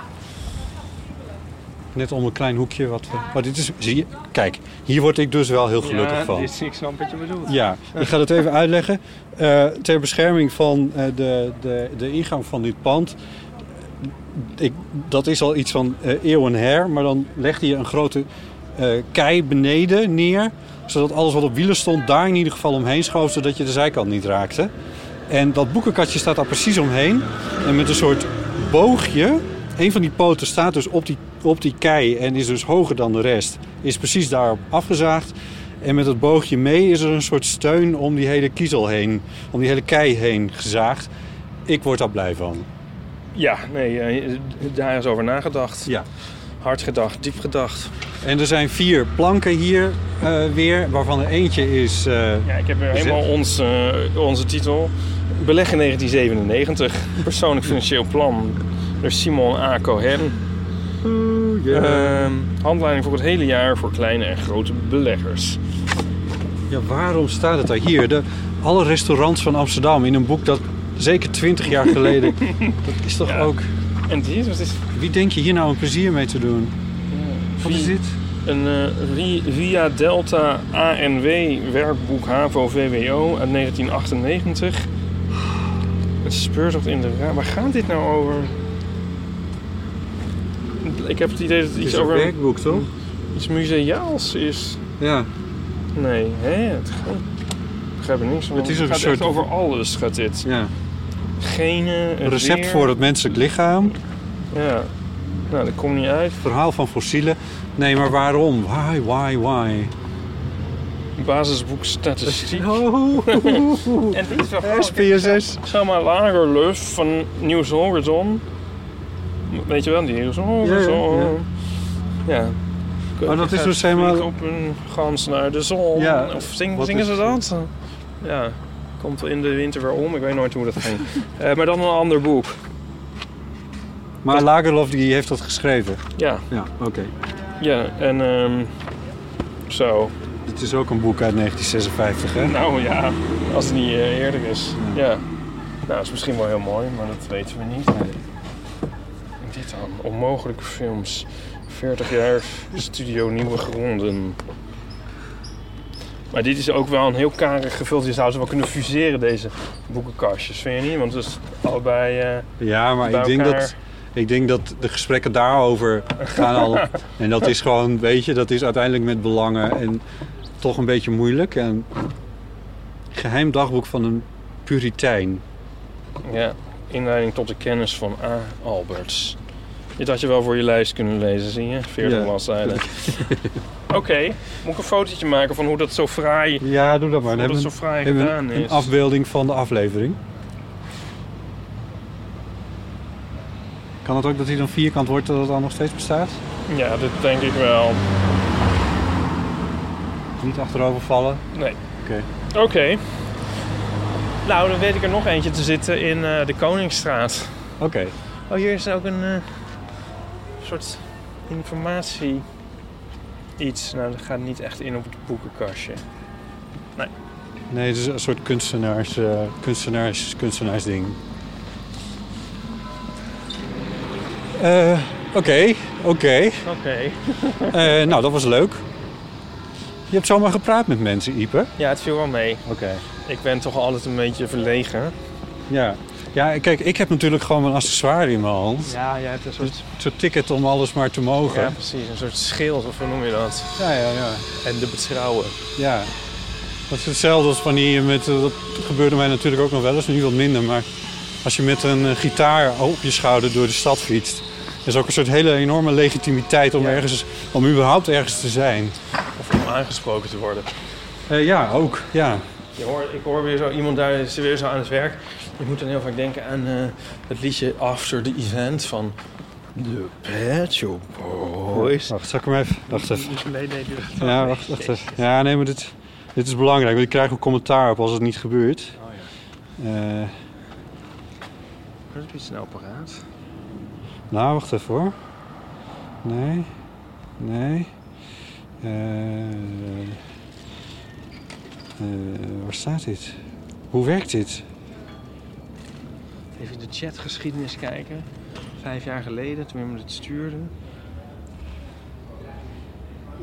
Speaker 2: Net om een klein hoekje wat we. Maar dit is. Zie je? Kijk, hier word ik dus wel heel gelukkig
Speaker 5: ja,
Speaker 2: van.
Speaker 5: dit- ik snap wat je bedoelt.
Speaker 2: Ja, ik ga dat even uitleggen. Eh, ter bescherming van eh, de, de, de ingang van dit pand. eh, Ik, dat is al iets van eh, eeuwen her, maar dan legde je een grote eh, kei beneden neer. Zodat alles wat op wielen stond daar in ieder geval omheen schoof, zodat je de zijkant niet raakte. En dat boekenkastje staat daar precies omheen. En met een soort boogje. Een van die poten staat dus op die, op die kei en is dus hoger dan de rest. Is precies daarop afgezaagd. En met dat boogje mee is er een soort steun om die hele kiezel heen, om die hele kei heen gezaagd. Ik word daar blij van.
Speaker 5: Ja, nee, eh, daar is over nagedacht.
Speaker 2: Ja.
Speaker 5: Hard gedacht, diep gedacht.
Speaker 2: En er zijn vier planken hier eh, weer, waarvan er eentje is. eh,
Speaker 5: Ja, ik heb weer
Speaker 2: Bezit.
Speaker 5: helemaal ons, eh, onze titel. Beleg in 1997. Persoonlijk financieel plan door Simon A. Cohen.
Speaker 2: eh,
Speaker 5: Ehm, handleiding voor het hele jaar voor kleine en grote beleggers.
Speaker 2: ja, waarom staat het daar hier? De, alle restaurants van Amsterdam in een boek dat zeker twintig jaar geleden. dat is toch
Speaker 5: Ja.
Speaker 2: ook.
Speaker 5: En dit wat is
Speaker 2: Wie denk je hier nou een plezier mee te doen? Wat is dit?
Speaker 5: een eh, Ri- Ria Delta ANW werkboek HAVO VWO uit 1998. Een speurtocht in de raam. Waar gaat dit nou over? Ik heb het idee dat het
Speaker 2: Het
Speaker 5: iets
Speaker 2: is een
Speaker 5: over
Speaker 2: werkboek, toch?
Speaker 5: iets museaals is.
Speaker 2: Ja.
Speaker 5: Nee, hè? Het gaat... Ik begrijp er niks van.
Speaker 2: Het is een
Speaker 5: gaat
Speaker 2: soort-
Speaker 5: echt over alles, gaat dit.
Speaker 2: ja.
Speaker 5: Genen,
Speaker 2: Een
Speaker 5: het
Speaker 2: recept
Speaker 5: weer.
Speaker 2: voor het menselijk lichaam.
Speaker 5: Ja. Nou, dat komt niet uit.
Speaker 2: verhaal van fossielen. Nee, maar waarom? Why, why, why?
Speaker 5: Basisboek statistiek.
Speaker 2: Oh,
Speaker 5: En dit is wel
Speaker 2: SPSS.
Speaker 5: Selma Lagerlöf van Nieuws Horizon. Weet je wel, die Nieuws Horizon. Ja.
Speaker 2: Oh, dat is
Speaker 5: Gaat
Speaker 2: dus helemaal-
Speaker 5: vliegen op een gans naar de zon.
Speaker 2: Ja,
Speaker 5: Of zing-
Speaker 2: wat
Speaker 5: zingen
Speaker 2: is-
Speaker 5: ze dat? Ja, komt in de winter weer om. Ik weet nooit hoe dat ging. Eh, maar dan een ander boek.
Speaker 2: Maar Lagerlof die heeft dat geschreven.
Speaker 5: Ja,
Speaker 2: Ja, oké.
Speaker 5: ja. En ehm, zo.
Speaker 2: Dit is ook een boek uit 1956, hè?
Speaker 5: Nou ja, als het niet eh, eerder is. Ja. Nou, is misschien wel heel mooi, maar dat weten we niet. En dit dan, onmogelijke films. 40 jaar studio Nieuwe Gronden. Maar dit is ook wel een heel karig gevuld. Je zou ze wel kunnen fuseren, deze boekenkastjes, vind je niet? Want het is allebei eh,
Speaker 2: Ja, maar
Speaker 5: bij
Speaker 2: ik denk,
Speaker 5: elkaar.
Speaker 2: dat, ik denk dat de gesprekken daarover gaan al... En dat is gewoon, weet je, dat is uiteindelijk met belangen en toch een beetje moeilijk. En geheim dagboek van een puritein.
Speaker 5: Ja, inleiding tot de kennis van A. Alberts. Dit had je wel voor je lijst kunnen lezen, zie je? 40
Speaker 2: Ja.
Speaker 5: bladzijden. Oké, moet ik een fotootje maken van hoe dat zo fraai,
Speaker 2: Ja, doe dat maar. Dan
Speaker 5: hoe
Speaker 2: hebben
Speaker 5: dat zo
Speaker 2: we
Speaker 5: fraai
Speaker 2: hebben we
Speaker 5: gedaan
Speaker 2: een, een
Speaker 5: is.
Speaker 2: afbeelding van de aflevering. Kan het ook dat hij dan vierkant wordt dat het dan nog steeds bestaat?
Speaker 5: Ja, dat denk ik wel.
Speaker 2: Niet achterover vallen.
Speaker 5: Nee.
Speaker 2: Oké.
Speaker 5: Oké. Nou, dan weet ik er nog eentje te zitten in eh, de Koningsstraat.
Speaker 2: Oh, Oké.
Speaker 5: Oh, hier is ook een eh, soort informatie iets. Nou, dat gaat niet echt in op het boekenkastje.
Speaker 2: Nee, het is een soort kunstenaars, eh, kunstenaars, kunstenaarsding. Eh, Oké, oké.
Speaker 5: Oké.
Speaker 2: Eh, nou, dat was leuk. Je hebt zomaar gepraat met mensen, Ieper.
Speaker 5: Ja, het viel wel mee.
Speaker 2: Oké.
Speaker 5: Ik ben toch altijd een beetje verlegen.
Speaker 2: Ja. ja, kijk, ik heb natuurlijk gewoon mijn accessoire in mijn hand.
Speaker 5: Ja, jij hebt een soort...
Speaker 2: Zo'n ticket om alles maar te mogen.
Speaker 5: Dus, Ja, precies. Een soort schild, of hoe noem je dat?
Speaker 2: ja, ja. ja.
Speaker 5: En de betrouwen.
Speaker 2: Ja. Dat is hetzelfde als wanneer je met... eh, Dat gebeurde mij natuurlijk ook nog wel eens, nu wat minder. Maar als je met een eh, gitaar op je schouder door de stad fietst... is ook een soort hele enorme legitimiteit om,
Speaker 5: Ja.
Speaker 2: ergens, om überhaupt ergens te zijn.
Speaker 5: Of om aangesproken te worden.
Speaker 2: Eh, ja, ook. Ja.
Speaker 5: Je hoort, ik hoor weer zo iemand daar, is weer zo aan het werk. Ik moet dan heel vaak denken aan eh, het liedje After the Event van The Pet Shop Boys.
Speaker 2: Wacht, zal ik hem even... Wacht even.
Speaker 5: Nee, nee, doe dat
Speaker 2: Ja, wacht, wacht even. Ja, nee, maar dit, dit is belangrijk. Want ik krijg ook commentaar op als het niet gebeurt. Eh,
Speaker 5: Dat is een apparaat.
Speaker 2: nou, wacht even hoor. Nee. Nee. Eh, eh, waar staat dit? Hoe werkt dit?
Speaker 5: Even in de chatgeschiedenis kijken. Vijf jaar geleden, toen we het stuurde.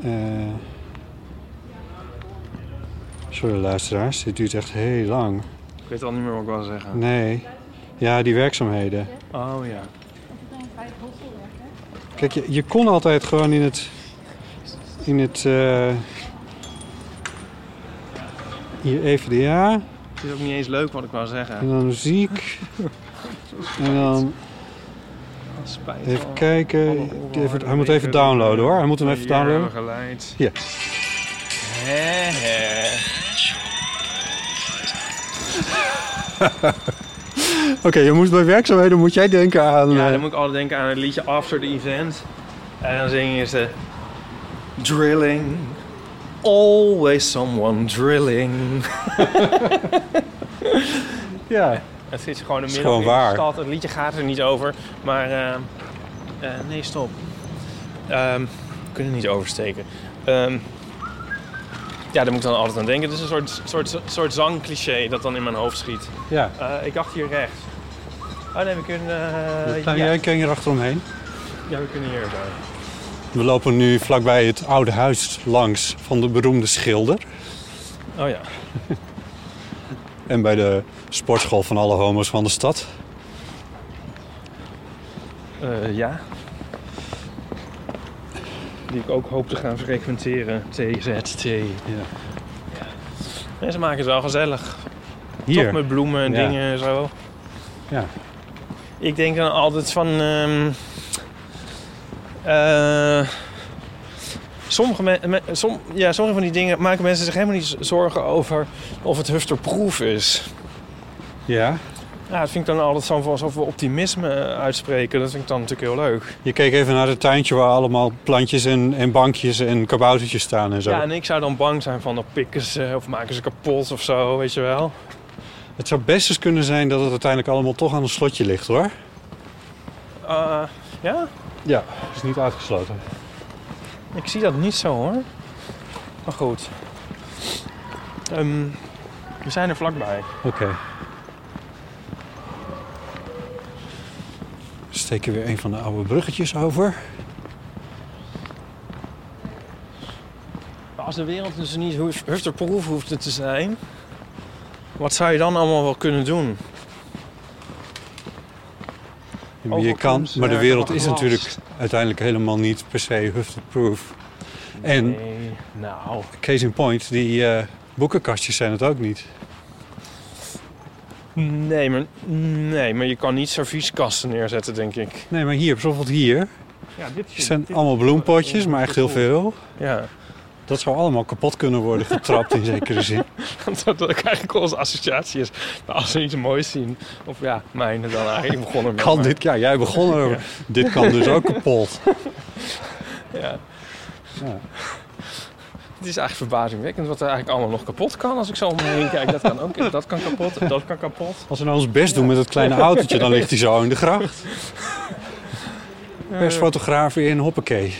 Speaker 2: Eh, sorry luisteraars, dit duurt echt heel lang.
Speaker 5: Ik weet al niet meer wat ik wil zeggen.
Speaker 2: Ah. Nee. Ja, die werkzaamheden.
Speaker 5: Oh ja.
Speaker 2: Kijk, je, je kon altijd gewoon in het. In het. eh hier EVDA.
Speaker 5: Het is ook niet eens leuk wat ik wou
Speaker 2: En
Speaker 5: zeggen.
Speaker 2: dan muziek. En dan
Speaker 5: Dat spijt
Speaker 2: even
Speaker 5: wel.
Speaker 2: kijken.
Speaker 5: Alle oren
Speaker 2: Even,
Speaker 5: harder
Speaker 2: hij moet even
Speaker 5: wegen.
Speaker 2: downloaden hoor. Hij moet hem even
Speaker 5: Hier hebben we
Speaker 2: downloaden.
Speaker 5: geleid.
Speaker 2: Hier.
Speaker 5: Hè, hè.
Speaker 2: Oké, je moet bij werkzaamheden moet jij denken aan.
Speaker 5: Ja,
Speaker 2: eh,
Speaker 5: dan moet ik altijd denken aan het liedje After the Event. En dan zingen ze... Drilling. Always someone drilling.
Speaker 2: ja.
Speaker 5: Het zit gewoon in
Speaker 2: Is
Speaker 5: de
Speaker 2: gewoon
Speaker 5: middel in de
Speaker 2: waar.
Speaker 5: stad. Het liedje gaat er niet over. Maar... eh, eh, nee, stop. Ehm, we kunnen niet oversteken. Ehm, ja, daar moet ik dan altijd aan denken. Het is een soort, soort, soort zangcliché dat dan in mijn hoofd schiet.
Speaker 2: ja.
Speaker 5: Eh, ik dacht hier rechts. Oh nee, we kunnen... eh,
Speaker 2: Nou,
Speaker 5: ja.
Speaker 2: Jij kan hier achterom
Speaker 5: ja, we kunnen hier zo.
Speaker 2: We lopen nu vlakbij het oude huis langs van de beroemde schilder.
Speaker 5: Oh ja.
Speaker 2: En bij de sportschool van alle homo's van de stad.
Speaker 5: Eh, ja. Die ik ook hoop te gaan frequenteren. TZT. Ja, ze maken het wel gezellig. Toch met bloemen en
Speaker 2: Ja.
Speaker 5: dingen en zo.
Speaker 2: Ja.
Speaker 5: Ik denk dan altijd van... ehm, eh, sommige, men- me- som, ja, sommige van die dingen maken mensen zich helemaal niet z- zorgen over of het hufterproof is.
Speaker 2: Ja.
Speaker 5: Ja, dat vind ik dan altijd zo, alsof we optimisme eh, uitspreken. Dat vind ik dan natuurlijk heel leuk.
Speaker 2: Je keek even naar het tuintje waar allemaal plantjes en, en bankjes en kaboutertjes staan en zo.
Speaker 5: Ja, en ik zou dan bang zijn van dan pikken ze of maken ze kapot of zo, weet je wel.
Speaker 2: Het zou best eens kunnen zijn dat het uiteindelijk allemaal toch aan een slotje ligt hoor.
Speaker 5: Eh, ja,
Speaker 2: Ja, dat is niet uitgesloten.
Speaker 5: ik zie dat niet zo hoor. Maar goed. Ehm, we zijn er vlakbij.
Speaker 2: Oké. We steken weer een van de oude bruggetjes over.
Speaker 5: Maar als de wereld dus niet huf- hufterproof hoeft te zijn, wat zou je dan allemaal wel kunnen doen?
Speaker 2: Maar Je kan,
Speaker 5: Overkomst,
Speaker 2: maar de
Speaker 5: eh,
Speaker 2: wereld is
Speaker 5: glas.
Speaker 2: natuurlijk uiteindelijk helemaal niet per se hufterproof. En
Speaker 5: Nee, nou,
Speaker 2: case in point, die eh, boekenkastjes zijn het ook niet.
Speaker 5: nee maar, nee, maar je kan niet servieskasten neerzetten, denk ik.
Speaker 2: Nee, maar hier, bijvoorbeeld hier,
Speaker 5: Ja, dit
Speaker 2: hier zijn allemaal bloempotjes, maar echt heel veel.
Speaker 5: Ja,
Speaker 2: Dat zou allemaal kapot kunnen worden getrapt in zekere zin.
Speaker 5: dat dat ook eigenlijk onze associatie is. Maar als we iets moois zien, of ja, mijne dan eigenlijk begonnen met.
Speaker 2: Kan dit, ja, jij begon erover. Dit kan dus ook kapot.
Speaker 5: Ja.
Speaker 2: Ja.
Speaker 5: Het is eigenlijk verbazingwekkend wat er eigenlijk allemaal nog kapot kan. Als ik zo om me heen kijk, dat kan ook. Dat kan kapot, dat kan kapot.
Speaker 2: Als we nou ons best doen met dat kleine autootje, dan ligt hij zo in de gracht. Persfotograaf in, hoppakee.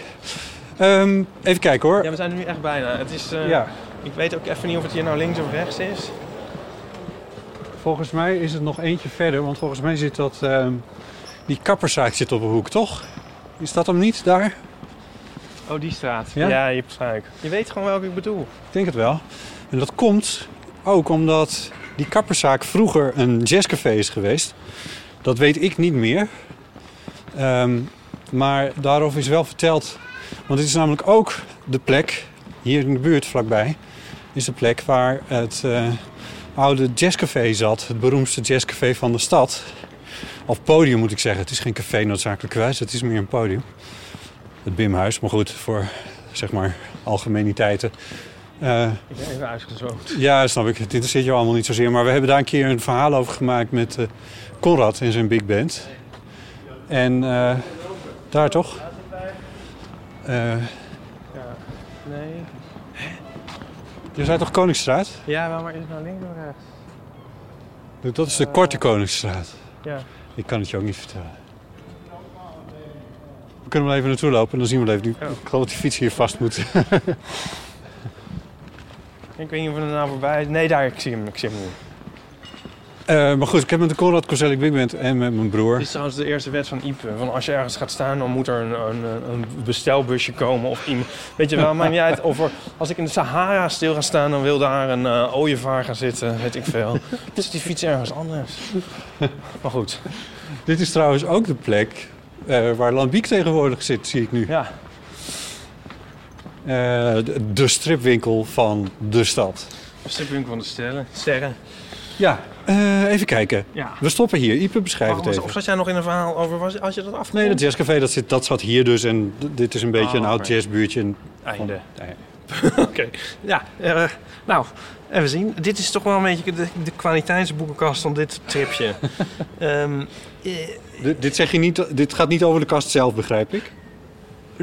Speaker 2: Ehm, even kijken hoor.
Speaker 5: Ja, we zijn er nu echt bijna. Het is, eh,
Speaker 2: Ja,
Speaker 5: Ik weet ook even niet of het hier nou links of rechts is.
Speaker 2: volgens mij is het nog eentje verder, want volgens mij zit dat... ehm, die kapperszaak zit op een hoek, toch? Is dat hem niet, daar?
Speaker 5: Oh, die straat.
Speaker 2: Ja?
Speaker 5: Ja, je hebt gelijk. Je weet gewoon welke ik bedoel.
Speaker 2: Ik denk het wel. En dat komt ook omdat die kapperszaak vroeger een jazzcafé is geweest. Dat weet ik niet meer. Ehm, maar daarover is wel verteld. Want dit is namelijk ook de plek, hier in de buurt vlakbij, is de plek waar het eh, oude jazzcafé zat. Het beroemdste jazzcafé van de stad. Of podium moet ik zeggen. Het is geen café noodzakelijkerwijs, het is meer een podium. Het Bimhuis, maar goed, voor zeg maar algemeniteiten. Eh,
Speaker 5: Ik ben even uitgezoomd.
Speaker 2: ja, dat snap ik. Het interesseert jou allemaal niet zozeer. Maar we hebben daar een keer een verhaal over gemaakt met eh, Conrad en zijn big band. En eh, daar toch? Eh,
Speaker 5: Nee.
Speaker 2: je zei toch Koningsstraat?
Speaker 5: Ja, maar, maar is het nou links of rechts?
Speaker 2: Dat is de korte Koningsstraat.
Speaker 5: Eh, Ja.
Speaker 2: Ik kan het je ook niet vertellen. We kunnen wel even naartoe lopen en dan zien we wel even.
Speaker 5: Oh.
Speaker 2: Ik geloof dat die fiets hier vast moet.
Speaker 5: Ik weet niet of we er nou voorbij is. Nee, daar, ik zie hem. Ik zie hem nu.
Speaker 2: Eh, maar goed, ik heb met de Conrad Corselli Big Band en met mijn broer.
Speaker 5: Dit is trouwens de eerste wet van Ipe. Van als je ergens gaat staan, dan moet er een, een, een bestelbusje komen. Of iemand. Weet je wel, maakt niet uit. Of er- als ik in de Sahara stil ga staan, dan wil daar een eh, ooievaar gaan zitten. Weet ik veel. Dus die fiets ergens anders. Maar goed,
Speaker 2: Dit is trouwens ook de plek eh, waar Lambiek tegenwoordig zit, zie ik nu.
Speaker 5: ja.
Speaker 2: Eh, de- de stripwinkel van de stad.
Speaker 5: Stripwinkel van de sterren. Sterren.
Speaker 2: Ja, eh, even kijken.
Speaker 5: Ja.
Speaker 2: We stoppen hier. Ipe, beschrijf
Speaker 5: Oh,
Speaker 2: het
Speaker 5: was-
Speaker 2: even.
Speaker 5: of zat jij nog in een verhaal over was, als je dat af?
Speaker 2: Nee, dat jazzcafé, dat, zit, dat zat hier dus. En d- dit is een beetje
Speaker 5: Oh,
Speaker 2: een oud
Speaker 5: oké.
Speaker 2: jazzbuurtje. En
Speaker 5: einde.
Speaker 2: Nee.
Speaker 5: Oké. Ja, eh, nou, even zien. Dit is toch wel een beetje de, de kwaliteitsboekenkast van dit tripje. Ehm, eh,
Speaker 2: Dit, dit, zeg je niet, dit gaat niet over de kast zelf, begrijp ik.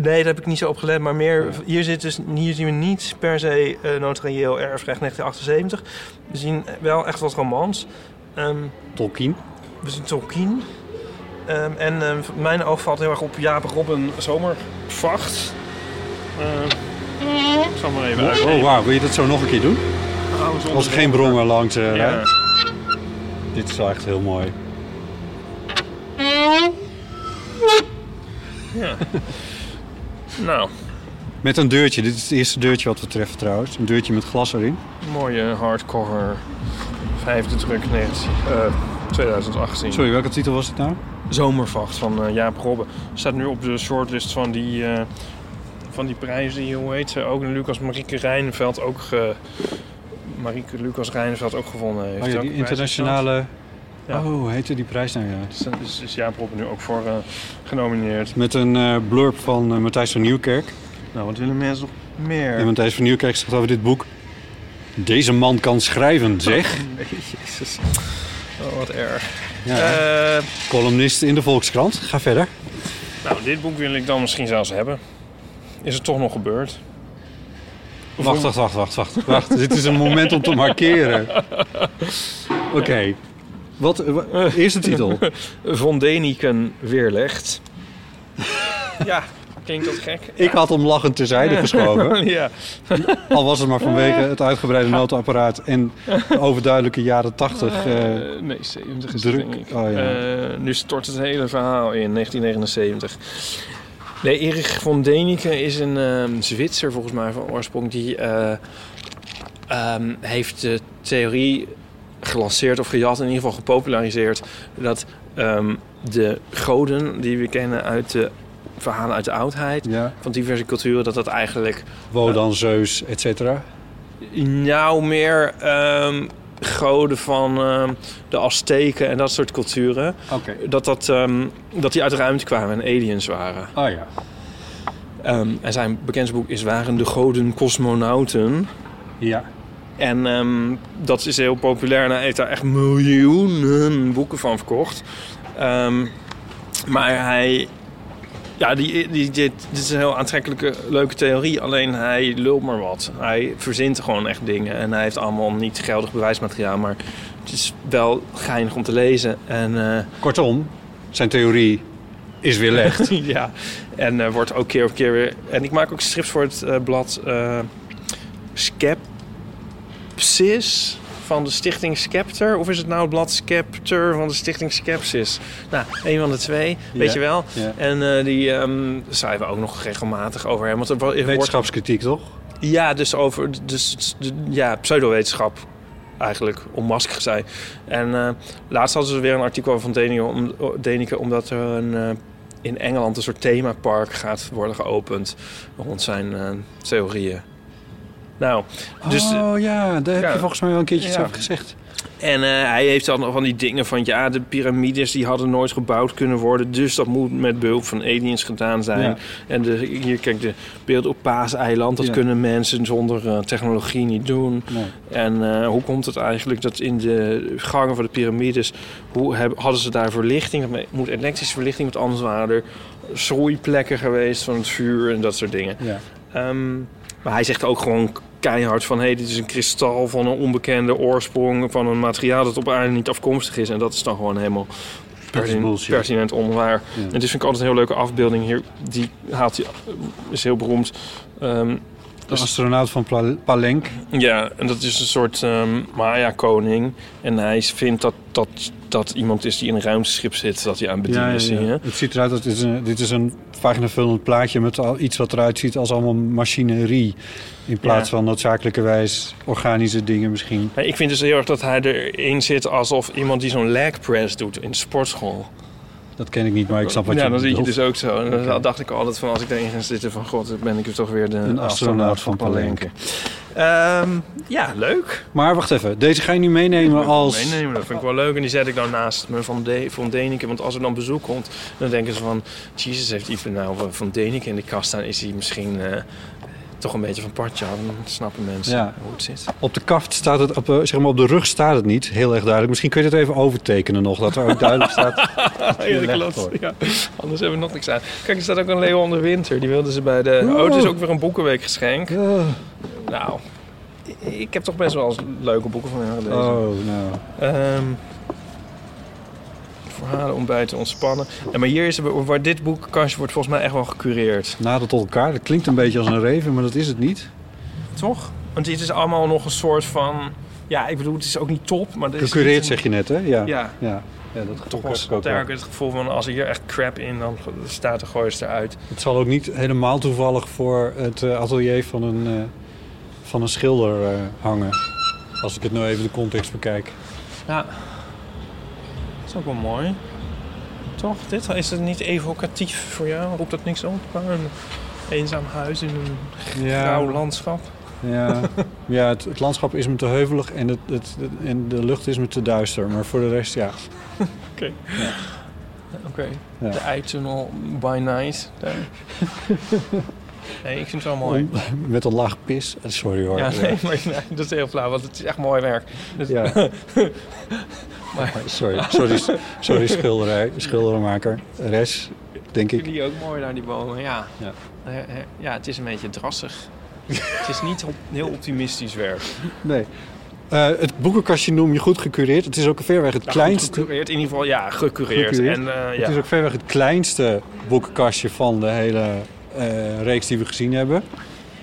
Speaker 5: Nee, daar heb ik niet zo op gelet. Maar meer, hier, zit dus, hier zien we niet per se eh notarieel erfrecht 1978. We zien wel echt wat romans. Ehm,
Speaker 2: Tolkien.
Speaker 5: we zien Tolkien. Ehm, en ehm, mijn oog valt heel erg op Jaap Robben Zomervacht. Ehm, ik zal maar even uit.
Speaker 2: Oh, wauw. Wil je dat zo nog een keer doen? Als er geen brommer langs eh,
Speaker 5: Ja.
Speaker 2: rijdt. Dit is wel echt heel mooi.
Speaker 5: Nou,
Speaker 2: Met een deurtje. Dit is het eerste deurtje wat we treffen trouwens. Een deurtje met glas erin.
Speaker 5: mooie hardcover. Vijfde druk 19, eh, 2018.
Speaker 2: Sorry, welke titel was het nou?
Speaker 5: Zomervacht van eh, Jaap Robben. Staat nu op de shortlist van die, eh, van die prijzen die, hoe heet ze, ook Lucas Marieke Rijnveld ook ge, Marieke Lucas Rijnveld ook gewonnen heeft.
Speaker 2: Oh ja,
Speaker 5: Welke
Speaker 2: die
Speaker 5: prijs is dat?
Speaker 2: internationale...
Speaker 5: Ja.
Speaker 2: Oh, hoe heette die prijs nou ja?
Speaker 5: Is, is, is Jaap Robben nu ook voor eh, genomineerd.
Speaker 2: Met een eh, blurb van eh, Matthijs van Nieuwkerk.
Speaker 5: Nou, wat willen mensen nog meer?
Speaker 2: En Matthijs van Nieuwkerk zegt over dit boek... Deze man kan schrijven, zeg.
Speaker 5: Jezus. Oh, wat erg.
Speaker 2: Ja.
Speaker 5: Eh,
Speaker 2: Columnist in de Volkskrant. Ga verder.
Speaker 5: nou, dit boek wil ik dan misschien zelfs hebben. Is het toch nog gebeurd?
Speaker 2: Wacht, wacht, wacht, wacht, wacht. wacht. dit is een moment om te markeren. Oké. Wat, eh, wa- eerste titel.
Speaker 5: Von Deniken weerlegt. ja, klinkt dat gek?
Speaker 2: Ik had hem lachend terzijde geschoven.
Speaker 5: ja.
Speaker 2: Al was het maar vanwege het uitgebreide notenapparaat... en de overduidelijke jaren tachtig... eh,
Speaker 5: Eh, nee, 70 is
Speaker 2: druk.
Speaker 5: het denk ik.
Speaker 2: Oh, ja.
Speaker 5: Eh, nu stort het hele verhaal in 1979. Nee, Erich von Däniken is een ehm, Zwitser volgens mij van oorsprong. Die eh, ehm, heeft de theorie gelanceerd of gejat, in ieder geval gepopulariseerd... dat ehm, de goden die we kennen uit de verhalen uit de oudheid...
Speaker 2: ja.
Speaker 5: van diverse culturen, dat dat eigenlijk
Speaker 2: Wodan, Zeus, et cetera.
Speaker 5: Nou, meer ehm, goden van ehm, de Azteken en dat soort culturen.
Speaker 2: Oké.
Speaker 5: Dat, dat, ehm, dat die uit de ruimte kwamen en aliens waren.
Speaker 2: Ah ja.
Speaker 5: Ehm, en zijn bekendste boek is Waren de Goden Cosmonauten?
Speaker 2: Ja.
Speaker 5: En ehm, dat is heel populair en hij heeft daar echt miljoenen boeken van verkocht. Ehm, maar hij
Speaker 3: Ja, die, die, dit, dit is een heel aantrekkelijke, leuke theorie. Alleen hij lult maar wat. Hij verzint gewoon echt dingen. En hij heeft allemaal niet geldig bewijsmateriaal. Maar het is wel geinig om te lezen. En eh,
Speaker 2: Kortom, zijn theorie is weerlegd.
Speaker 3: ja, en eh, wordt ook keer op keer weer. En ik maak ook strips voor het eh, blad eh Skepsis van de Stichting Skepter. Of is het nou het blad Skepter van de Stichting Skepsis? Nou, een van de twee, weet
Speaker 2: Ja,
Speaker 3: je wel.
Speaker 2: ja.
Speaker 3: En eh, die ehm, schrijven ook nog regelmatig over hem. Want er wo- er wordt,
Speaker 2: Wetenschapskritiek, toch?
Speaker 3: ja, dus over dus, de- ja, pseudowetenschap eigenlijk, om masker te zijn. En eh, laatst hadden ze weer een artikel over van Denike, om, Denike omdat er een, eh, in Engeland een soort themapark gaat worden geopend rond zijn eh, theorieën. Nou, dus,
Speaker 2: oh ja, daar heb
Speaker 3: ja.
Speaker 2: je volgens mij wel een keertje iets
Speaker 3: Ja.
Speaker 2: over gezegd.
Speaker 3: en eh, hij heeft dan nog van die dingen van... ja, de piramides die hadden nooit gebouwd kunnen worden... dus dat moet met behulp van aliens gedaan zijn.
Speaker 2: Ja.
Speaker 3: En de, hier, kijk, de beeld op Paaseiland... dat
Speaker 2: Ja.
Speaker 3: kunnen mensen zonder eh, technologie niet doen.
Speaker 2: Nee.
Speaker 3: En eh, hoe komt het eigenlijk dat in de gangen van de piramides... Hoe heb- hadden ze daar verlichting? Dat moet elektrische verlichting, want anders waren er schroeiplekken geweest... van het vuur en dat soort dingen.
Speaker 2: Ja.
Speaker 3: Ehm, maar hij zegt ook gewoon keihard van... hé, hey, dit is een kristal van een onbekende oorsprong... van een materiaal dat op aarde niet afkomstig is. En dat is dan gewoon helemaal
Speaker 2: Dat is
Speaker 3: pertin-
Speaker 2: bullshit.
Speaker 3: pertinent onwaar.
Speaker 2: Ja.
Speaker 3: En dus vind ik altijd een heel leuke afbeelding hier. Die haalt hij, is heel beroemd. Ehm,
Speaker 2: De astronaut van Pla- Palenk.
Speaker 3: ja, en dat is een soort ehm Maya-koning. En hij vindt dat, dat dat iemand is die in een ruimteschip zit... dat hij aan het bedienen is. zie je?
Speaker 2: Het ziet eruit, dat dit is een, dit is een paginavullend plaatje met al iets wat eruit ziet als allemaal machinerie. In plaats
Speaker 3: Ja.
Speaker 2: van noodzakelijkerwijs organische dingen misschien.
Speaker 3: Nee, Ik vind dus heel erg dat hij erin zit alsof iemand die zo'n leg press doet in de sportschool.
Speaker 2: Dat ken ik niet, maar ik snap wat
Speaker 3: ja,
Speaker 2: je
Speaker 3: dan zie je
Speaker 2: bedoelt.
Speaker 3: dus ook zo. En dan
Speaker 2: Oké.
Speaker 3: dacht ik altijd van als ik daarin ga zitten van god, dan ben ik toch weer de
Speaker 2: Een astronaut van Palenque.
Speaker 3: Ehm, ja, leuk.
Speaker 2: Maar wacht even, deze ga je nu meenemen als...
Speaker 3: Meenemen, dat vind ik wel leuk. En die zet ik dan naast me van, de, van Deneken. Want als er dan bezoek komt, dan denken ze van... Jezus, heeft Ipe nou van- van Deneken in de kast staan? Is hij misschien eh, toch een beetje van partje? Dan snappen mensen
Speaker 2: Ja.
Speaker 3: hoe het zit.
Speaker 2: Op de kaft staat het, op, eh, zeg maar op de rug staat het niet, heel erg duidelijk. Misschien kun je dit even overtekenen nog, dat er ook duidelijk staat.
Speaker 3: Oh, Ja,
Speaker 2: legt
Speaker 3: klopt.
Speaker 2: voor.
Speaker 3: Ja. Anders hebben we nog niks aan. Kijk, er staat ook een Leon de Winter. Die wilden ze bij de...
Speaker 2: Oeh.
Speaker 3: Oh, het is ook weer een boekenweek geschenk.
Speaker 2: Oh,
Speaker 3: Nou, ik heb toch best wel eens leuke boeken van hem gelezen.
Speaker 2: nou.
Speaker 3: Ehm, verhalen om bij te ontspannen. En maar hier is waar dit boekenkastje wordt volgens mij echt wel gecureerd.
Speaker 2: Nader tot elkaar, dat klinkt een beetje als een reven, maar dat is het niet.
Speaker 3: Toch? Want dit is allemaal nog een soort van... Ja, ik bedoel, het is ook niet top, maar... dit is
Speaker 2: Gecureerd
Speaker 3: niet een-
Speaker 2: zeg je net, hè? Ja.
Speaker 3: Ja.
Speaker 2: Ja, ja dat
Speaker 3: Toch
Speaker 2: gevoel
Speaker 3: wel
Speaker 2: heb ik ook wel.
Speaker 3: sterk het gevoel van als er hier echt crap in, dan staat de goois eruit.
Speaker 2: Het zal ook niet helemaal toevallig voor het eh, atelier van een, eh, van een schilder eh, hangen. Als ik het nou even de context bekijk.
Speaker 3: Ja. Dat is ook wel mooi. Toch? Dit is het niet evocatief voor jou? Roept dat niks op? Maar Een eenzaam huis in een grauw landschap.
Speaker 2: ja, ja het, het landschap is me te heuvelig en, het, het, het- en de lucht is me te duister. Maar voor de rest, ja.
Speaker 3: Oké.
Speaker 2: Ja.
Speaker 3: De eitunnel by night. Daar. nee, ik vind het wel mooi.
Speaker 2: Om- met een laag pis. Eh, Sorry hoor.
Speaker 3: Ja, nee, maar nee, dat is heel flauw, want het is echt mooi werk. Dus,
Speaker 2: Ja.
Speaker 3: Maar-
Speaker 2: Sorry, sorry, sorry schilderij, schildermaker. Res, denk ik.
Speaker 3: Die ook mooi daar, die bomen, ja.
Speaker 2: Ja.
Speaker 3: Eh, eh, ja, het is een beetje drassig. het is niet op- heel optimistisch werk.
Speaker 2: Nee. Eh, het boekenkastje noem je goed gecureerd. Het is ook verreweg het
Speaker 3: Ja, goed,
Speaker 2: kleinste.
Speaker 3: Gecureerd, in ieder geval, ja, gecureerd.
Speaker 2: Gecureerd.
Speaker 3: En, eh, ja.
Speaker 2: Het is ook verreweg het kleinste boekenkastje van de hele eh, reeks die we gezien hebben.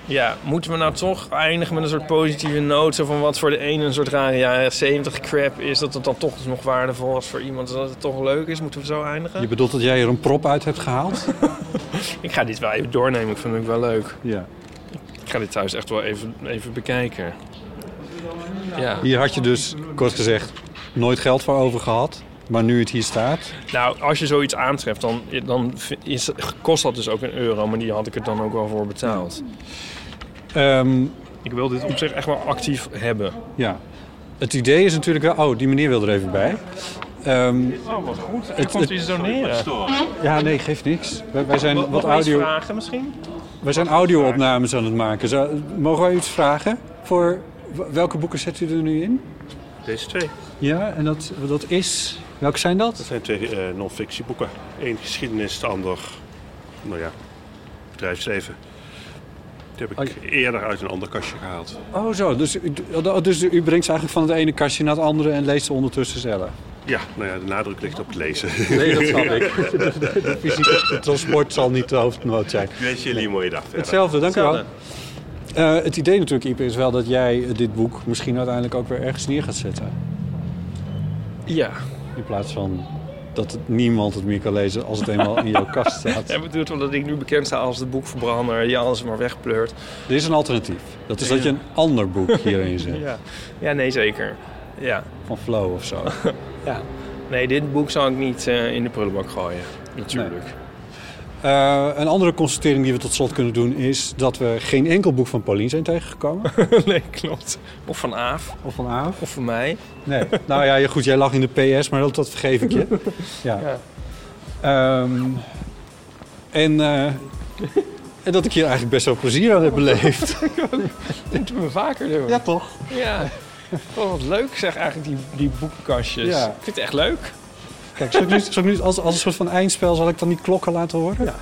Speaker 3: Ja, moeten we nou toch eindigen met een soort positieve noot? Zo van wat voor de ene een soort rare jaren 70 crap is, dat het dan toch nog waardevol is voor iemand, dat het toch leuk is? Moeten we zo eindigen?
Speaker 2: Je bedoelt dat jij er een prop uit hebt gehaald?
Speaker 3: Ik ga dit wel even doornemen, ik vind het ook wel leuk.
Speaker 2: Ja.
Speaker 3: Ik ga dit thuis echt wel even, even bekijken. Ja.
Speaker 2: Hier had je dus, kort gezegd, nooit geld voor over gehad. Maar nu het hier staat.
Speaker 3: Nou, als je zoiets aantreft, dan, dan is, kost dat dus ook een euro, maar die had ik er dan ook wel voor betaald.
Speaker 2: Ehm,
Speaker 3: Ik wil dit op zich echt wel actief hebben.
Speaker 2: ja. Het idee is natuurlijk wel... Oh, die meneer wil er even bij. Ehm,
Speaker 3: Oh, wat goed. Ik
Speaker 2: Het-
Speaker 3: komt
Speaker 2: het-
Speaker 3: iets doneren.
Speaker 2: ja, nee, geeft niks. Wij, wij zijn wat
Speaker 3: Nog eens
Speaker 2: audio,
Speaker 3: vragen misschien?
Speaker 2: wij zijn audio-opnames aan het maken. Zou- mogen wij iets vragen? Voor w- welke boeken zet u er nu in?
Speaker 8: Deze twee.
Speaker 2: Ja, en dat, dat is... Welke zijn dat?
Speaker 8: Het zijn twee eh non-fictieboeken. Eén geschiedenis, de ander nou ja, bedrijfsleven. Die heb ik eerder uit een ander kastje gehaald.
Speaker 2: Oh zo, dus, u- d- dus u brengt ze eigenlijk van het ene kastje naar het andere en leest ze ondertussen zelf.
Speaker 8: Ja, nou ja, de nadruk ligt op het lezen.
Speaker 2: Nee, dat snap ik. De fysieke transport zal niet de hoofdmoot zijn.
Speaker 8: Ik wens jullie een mooie dag verder.
Speaker 2: Hetzelfde, dank u wel. Eh, het idee natuurlijk, Ipe, is wel dat jij eh, dit boek misschien uiteindelijk ook weer ergens neer gaat zetten.
Speaker 5: Ja.
Speaker 2: In plaats van dat het- niemand het meer kan lezen als het eenmaal in jouw kast staat.
Speaker 5: En bedoelt omdat ik nu bekend sta als de boekverbrander die alles maar wegpleurt.
Speaker 2: Er is een alternatief. Dat is dat je een ander boek hierin zet.
Speaker 5: Ja. ja, nee zeker. Ja.
Speaker 2: Van Flow of zo.
Speaker 5: ja. Nee, dit boek zou ik niet eh, in de prullenbak gooien. Natuurlijk.
Speaker 2: Eh, een andere constatering die we tot slot kunnen doen is dat we geen enkel boek van Paulien zijn tegengekomen.
Speaker 5: Nee, klopt. Of van Aaf.
Speaker 2: Of van Aaf.
Speaker 5: Of van mij.
Speaker 2: Nee. Nou ja, ja, goed, jij lag in de PS, maar dat, dat vergeef ik je. Ja. Ehm, en, eh, en dat ik hier eigenlijk best wel plezier aan heb beleefd.
Speaker 5: Dat doen we vaker doen.
Speaker 2: Ja, toch?
Speaker 5: Ja. Oh, wat leuk zeg eigenlijk die, die boekenkastjes.
Speaker 2: Ja.
Speaker 5: Ik vind het echt leuk.
Speaker 2: Kijk, zal ik nu, zal ik nu als, als een soort van eindspel zal ik dan die klokken laten horen? Ja.